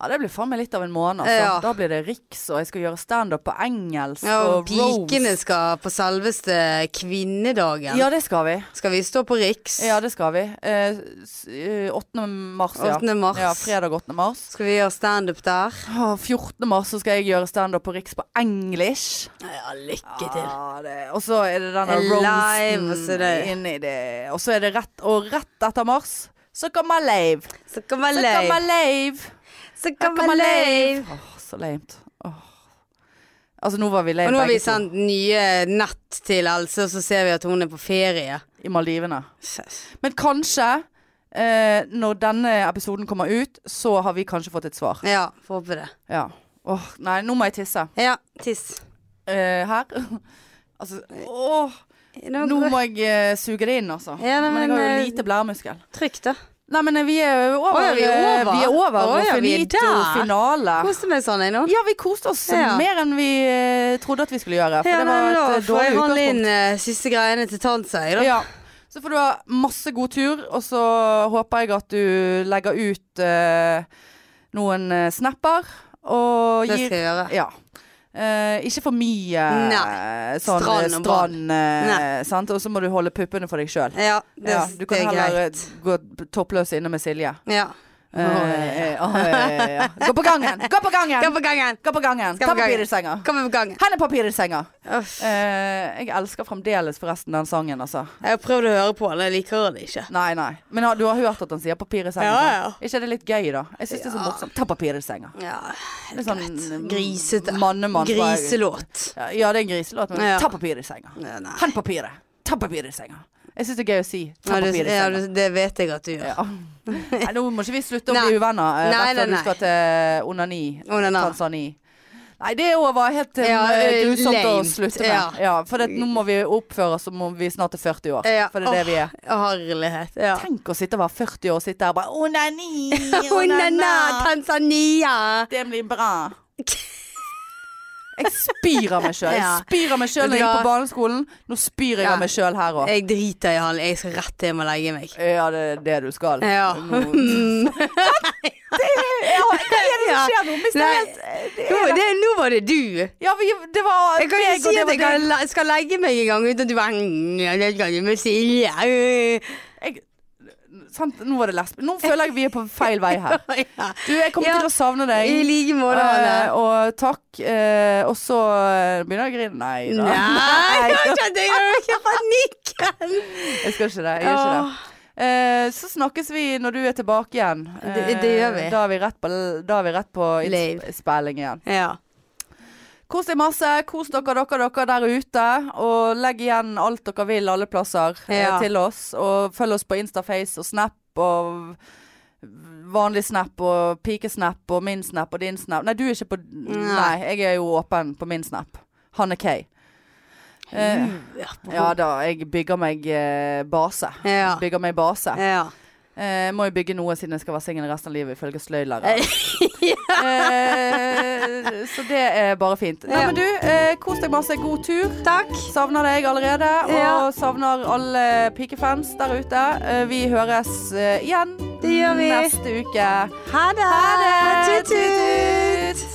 Speaker 2: Ja, det blir faen meg litt av en måned. Altså.
Speaker 1: Ja.
Speaker 2: Da blir det Riks, og jeg skal gjøre standup på engelsk.
Speaker 1: Ja, og
Speaker 2: og
Speaker 1: pikene
Speaker 2: roast.
Speaker 1: skal på selveste kvinnedagen.
Speaker 2: Ja, det skal vi.
Speaker 1: Skal vi stå på Riks?
Speaker 2: Ja, det skal vi. Eh, s- eh, 8. mars, ja.
Speaker 1: 8. mars.
Speaker 2: ja. Fredag 8. mars.
Speaker 1: Skal vi gjøre standup der?
Speaker 2: Å, 14. mars så skal jeg gjøre standup på Riks på english.
Speaker 1: Ja, lykke til.
Speaker 2: Ja, det- og så er det denne
Speaker 1: Live,
Speaker 2: roasten
Speaker 1: og så det-
Speaker 2: inni det. Og så er det rett Og rett etter mars så kommer lave.
Speaker 1: Så kan man
Speaker 2: Så
Speaker 1: leve.
Speaker 2: kommer lave.
Speaker 1: Så
Speaker 2: Så
Speaker 1: kan man leve.
Speaker 2: Åh, så lamet. Åh. Altså, nå var vi lame
Speaker 1: Og nå har vi sånn- sendt
Speaker 2: begge to.
Speaker 1: nye nett til Else, og så ser vi at hun er på ferie.
Speaker 2: I Maldivene. Men kanskje eh, når denne episoden kommer ut, så har vi kanskje fått et svar.
Speaker 1: Ja, får håpe det.
Speaker 2: Ja. Åh, nei, nå må jeg tisse.
Speaker 1: Ja, tiss.
Speaker 2: Eh, her. altså, åh.
Speaker 1: Nå,
Speaker 2: Nå må jeg eh, suge det inn, altså.
Speaker 1: Ja, nei,
Speaker 2: men jeg har
Speaker 1: men,
Speaker 2: jo
Speaker 1: eh,
Speaker 2: lite blæremuskel.
Speaker 1: Trykk, da.
Speaker 2: Nei, men eh, vi er jo over.
Speaker 1: Åja, vi er
Speaker 2: eh,
Speaker 1: over.
Speaker 2: Vi er over
Speaker 1: Åja, vi er
Speaker 2: Finito
Speaker 1: der.
Speaker 2: finale.
Speaker 1: Koste meg sånn jeg nå.
Speaker 2: Ja, vi koste oss
Speaker 1: Ja.
Speaker 2: mer enn vi eh, trodde at vi skulle gjøre. For
Speaker 1: Ja,
Speaker 2: det
Speaker 1: nei,
Speaker 2: var
Speaker 1: men
Speaker 2: et
Speaker 1: da får
Speaker 2: eh,
Speaker 1: jeg
Speaker 2: dårlig
Speaker 1: handle
Speaker 2: utgangspunkt.
Speaker 1: inn eh, siste greiene til Tansei, da.
Speaker 2: Ja. Så får du ha masse god tur, og så håper jeg at du legger ut eh, noen eh, snapper. Og
Speaker 1: det skal
Speaker 2: gir
Speaker 1: jeg gjøre.
Speaker 2: ja. Eh, ikke for mye
Speaker 1: Nei.
Speaker 2: eh, sånn strand,
Speaker 1: Strand og
Speaker 2: strand eh,
Speaker 1: Nei.
Speaker 2: sant? Og så må du holde puppene for deg sjøl.
Speaker 1: Ja, det,
Speaker 2: Ja, du kan
Speaker 1: det er
Speaker 2: heller eh,
Speaker 1: greit.
Speaker 2: gå toppløs inne med Silje.
Speaker 1: Ja.
Speaker 2: Eh,
Speaker 1: Åh,
Speaker 2: åh, ja, ja. Gå på gangen! Gå på
Speaker 1: Gå
Speaker 2: gangen!
Speaker 1: på gangen!
Speaker 2: Gå på gangen.
Speaker 1: Gå
Speaker 2: Ta
Speaker 1: på gangen.
Speaker 2: papir i senga.
Speaker 1: Kom på gangen.
Speaker 2: Hen er papir i senga.
Speaker 1: Uff.
Speaker 2: Eh, jeg elsker fremdeles forresten den sangen, altså.
Speaker 1: Jeg har prøvd å høre på den, jeg liker den ikke.
Speaker 2: Nei, nei. Men har- du har hørt at han sier papir i senga?
Speaker 1: Ja,
Speaker 2: sant? Ikke er det litt gøy, da? Jeg syns det er så
Speaker 1: Ja.
Speaker 2: morsomt. Ta papir i senga.
Speaker 1: Ja,
Speaker 2: Det er
Speaker 1: greit.
Speaker 2: sånn
Speaker 1: Grisete.
Speaker 2: Mannemann. fra-
Speaker 1: Griselåt.
Speaker 2: Ja, Ja, det er en griselåt, men
Speaker 1: Ja.
Speaker 2: ta papir i senga.
Speaker 1: Ja, nei.
Speaker 2: Hent papiret. Ta papir i senga. Jeg syns det er gøy å si. Ta
Speaker 1: Ja, du,
Speaker 2: papir i
Speaker 1: ja,
Speaker 2: senga.
Speaker 1: du, det vet jeg at du gjør.
Speaker 2: Ja. Nei, nå må ikke vi slutte å
Speaker 1: Nei.
Speaker 2: bli uvenner eh,
Speaker 1: Nei,
Speaker 2: rett før
Speaker 1: nei,
Speaker 2: du skal til onani.
Speaker 1: Onana.
Speaker 2: Tanzani. Nei, det er over. Helt eh,
Speaker 1: Ja, eh,
Speaker 2: grusomt å
Speaker 1: lame.
Speaker 2: slutte med.
Speaker 1: Ja.
Speaker 2: Ja. for det, nå må vi oppføre oss som om vi snart er 40 år.
Speaker 1: Ja.
Speaker 2: For det er det vi er.
Speaker 1: Herlighet. Ja.
Speaker 2: Tenk å sitte og være 40 år og sitte her og bare Onani!
Speaker 1: Onana,
Speaker 2: Onana!
Speaker 1: Tanzania!
Speaker 2: Det blir bra. Jeg spyr av meg sjøl. Jeg
Speaker 1: Ja.
Speaker 2: spyr av meg sjøl
Speaker 1: Vet
Speaker 2: når jeg
Speaker 1: du
Speaker 2: gikk på
Speaker 1: hva?
Speaker 2: barneskolen. Nå spyr jeg
Speaker 1: Ja.
Speaker 2: av meg sjøl her òg.
Speaker 1: Jeg driter i han. Jeg skal rett hjem og legge meg.
Speaker 2: Ja, det er det du skal.
Speaker 1: Ja.
Speaker 2: Nå- Ja, Hva er det som skjer nå? Mister
Speaker 1: Nei.
Speaker 2: helt- eh, det
Speaker 1: Nå,
Speaker 2: er-
Speaker 1: det, nå var det du.
Speaker 2: Ja, vi, det var
Speaker 1: Jeg kan
Speaker 2: meg,
Speaker 1: ikke
Speaker 2: og
Speaker 1: si
Speaker 2: det
Speaker 1: at
Speaker 2: var
Speaker 1: jeg
Speaker 2: deg.
Speaker 1: kan, le- skal legge meg en gang uten at du bare «Mm, ja, det skal du med Silje.
Speaker 2: jeg, sant, Nå var det lesb... Nå føler jeg vi er på feil vei her.
Speaker 1: Ja.
Speaker 2: Du, jeg kommer
Speaker 1: Ja.
Speaker 2: til å savne deg.
Speaker 1: I like måte,
Speaker 2: Eh,
Speaker 1: Hanne.
Speaker 2: og takk. eh, og så eh, begynner jeg å grine. Nei da.
Speaker 1: Nei, jeg har ikke- jeg har ikke panikk!
Speaker 2: Jeg skal ikke det. Jeg gjør ikke det. Eh, så snakkes vi når du er tilbake igjen.
Speaker 1: Det- det gjør vi.
Speaker 2: Eh, Da er vi rett på, da er vi rett på
Speaker 1: Live.
Speaker 2: innspilling igjen.
Speaker 1: Ja.
Speaker 2: Kos deg masse. Kos dere, dere, dere der ute. Og legg igjen alt dere vil alle plasser eh,
Speaker 1: Ja.
Speaker 2: til oss. Og følg oss på Instaface og Snap og vanlig Snap og pikesnap og min Snap og din Snap. Nei, du er ikke på Nei, jeg er jo åpen på min Snap. Hanne K. Eh,
Speaker 1: Ja.
Speaker 2: ja da, jeg bygger meg eh, base.
Speaker 1: Ja.
Speaker 2: Bygger meg base.
Speaker 1: ja.
Speaker 2: Eh, må jo bygge noe siden jeg skal være singel resten av livet, ifølge sløydlæreren. eh, så det er bare fint. Nei,
Speaker 1: Ja.
Speaker 2: men du, eh, kos deg masse. God tur.
Speaker 1: Takk.
Speaker 2: Savner deg allerede, og
Speaker 1: Ja.
Speaker 2: savner alle pikefans der ute. Eh, vi høres eh, igjen
Speaker 1: Det gjør vi.
Speaker 2: neste uke.
Speaker 1: Ha det.
Speaker 2: Ha det!
Speaker 1: Tut-tut.
Speaker 2: Tut-tut.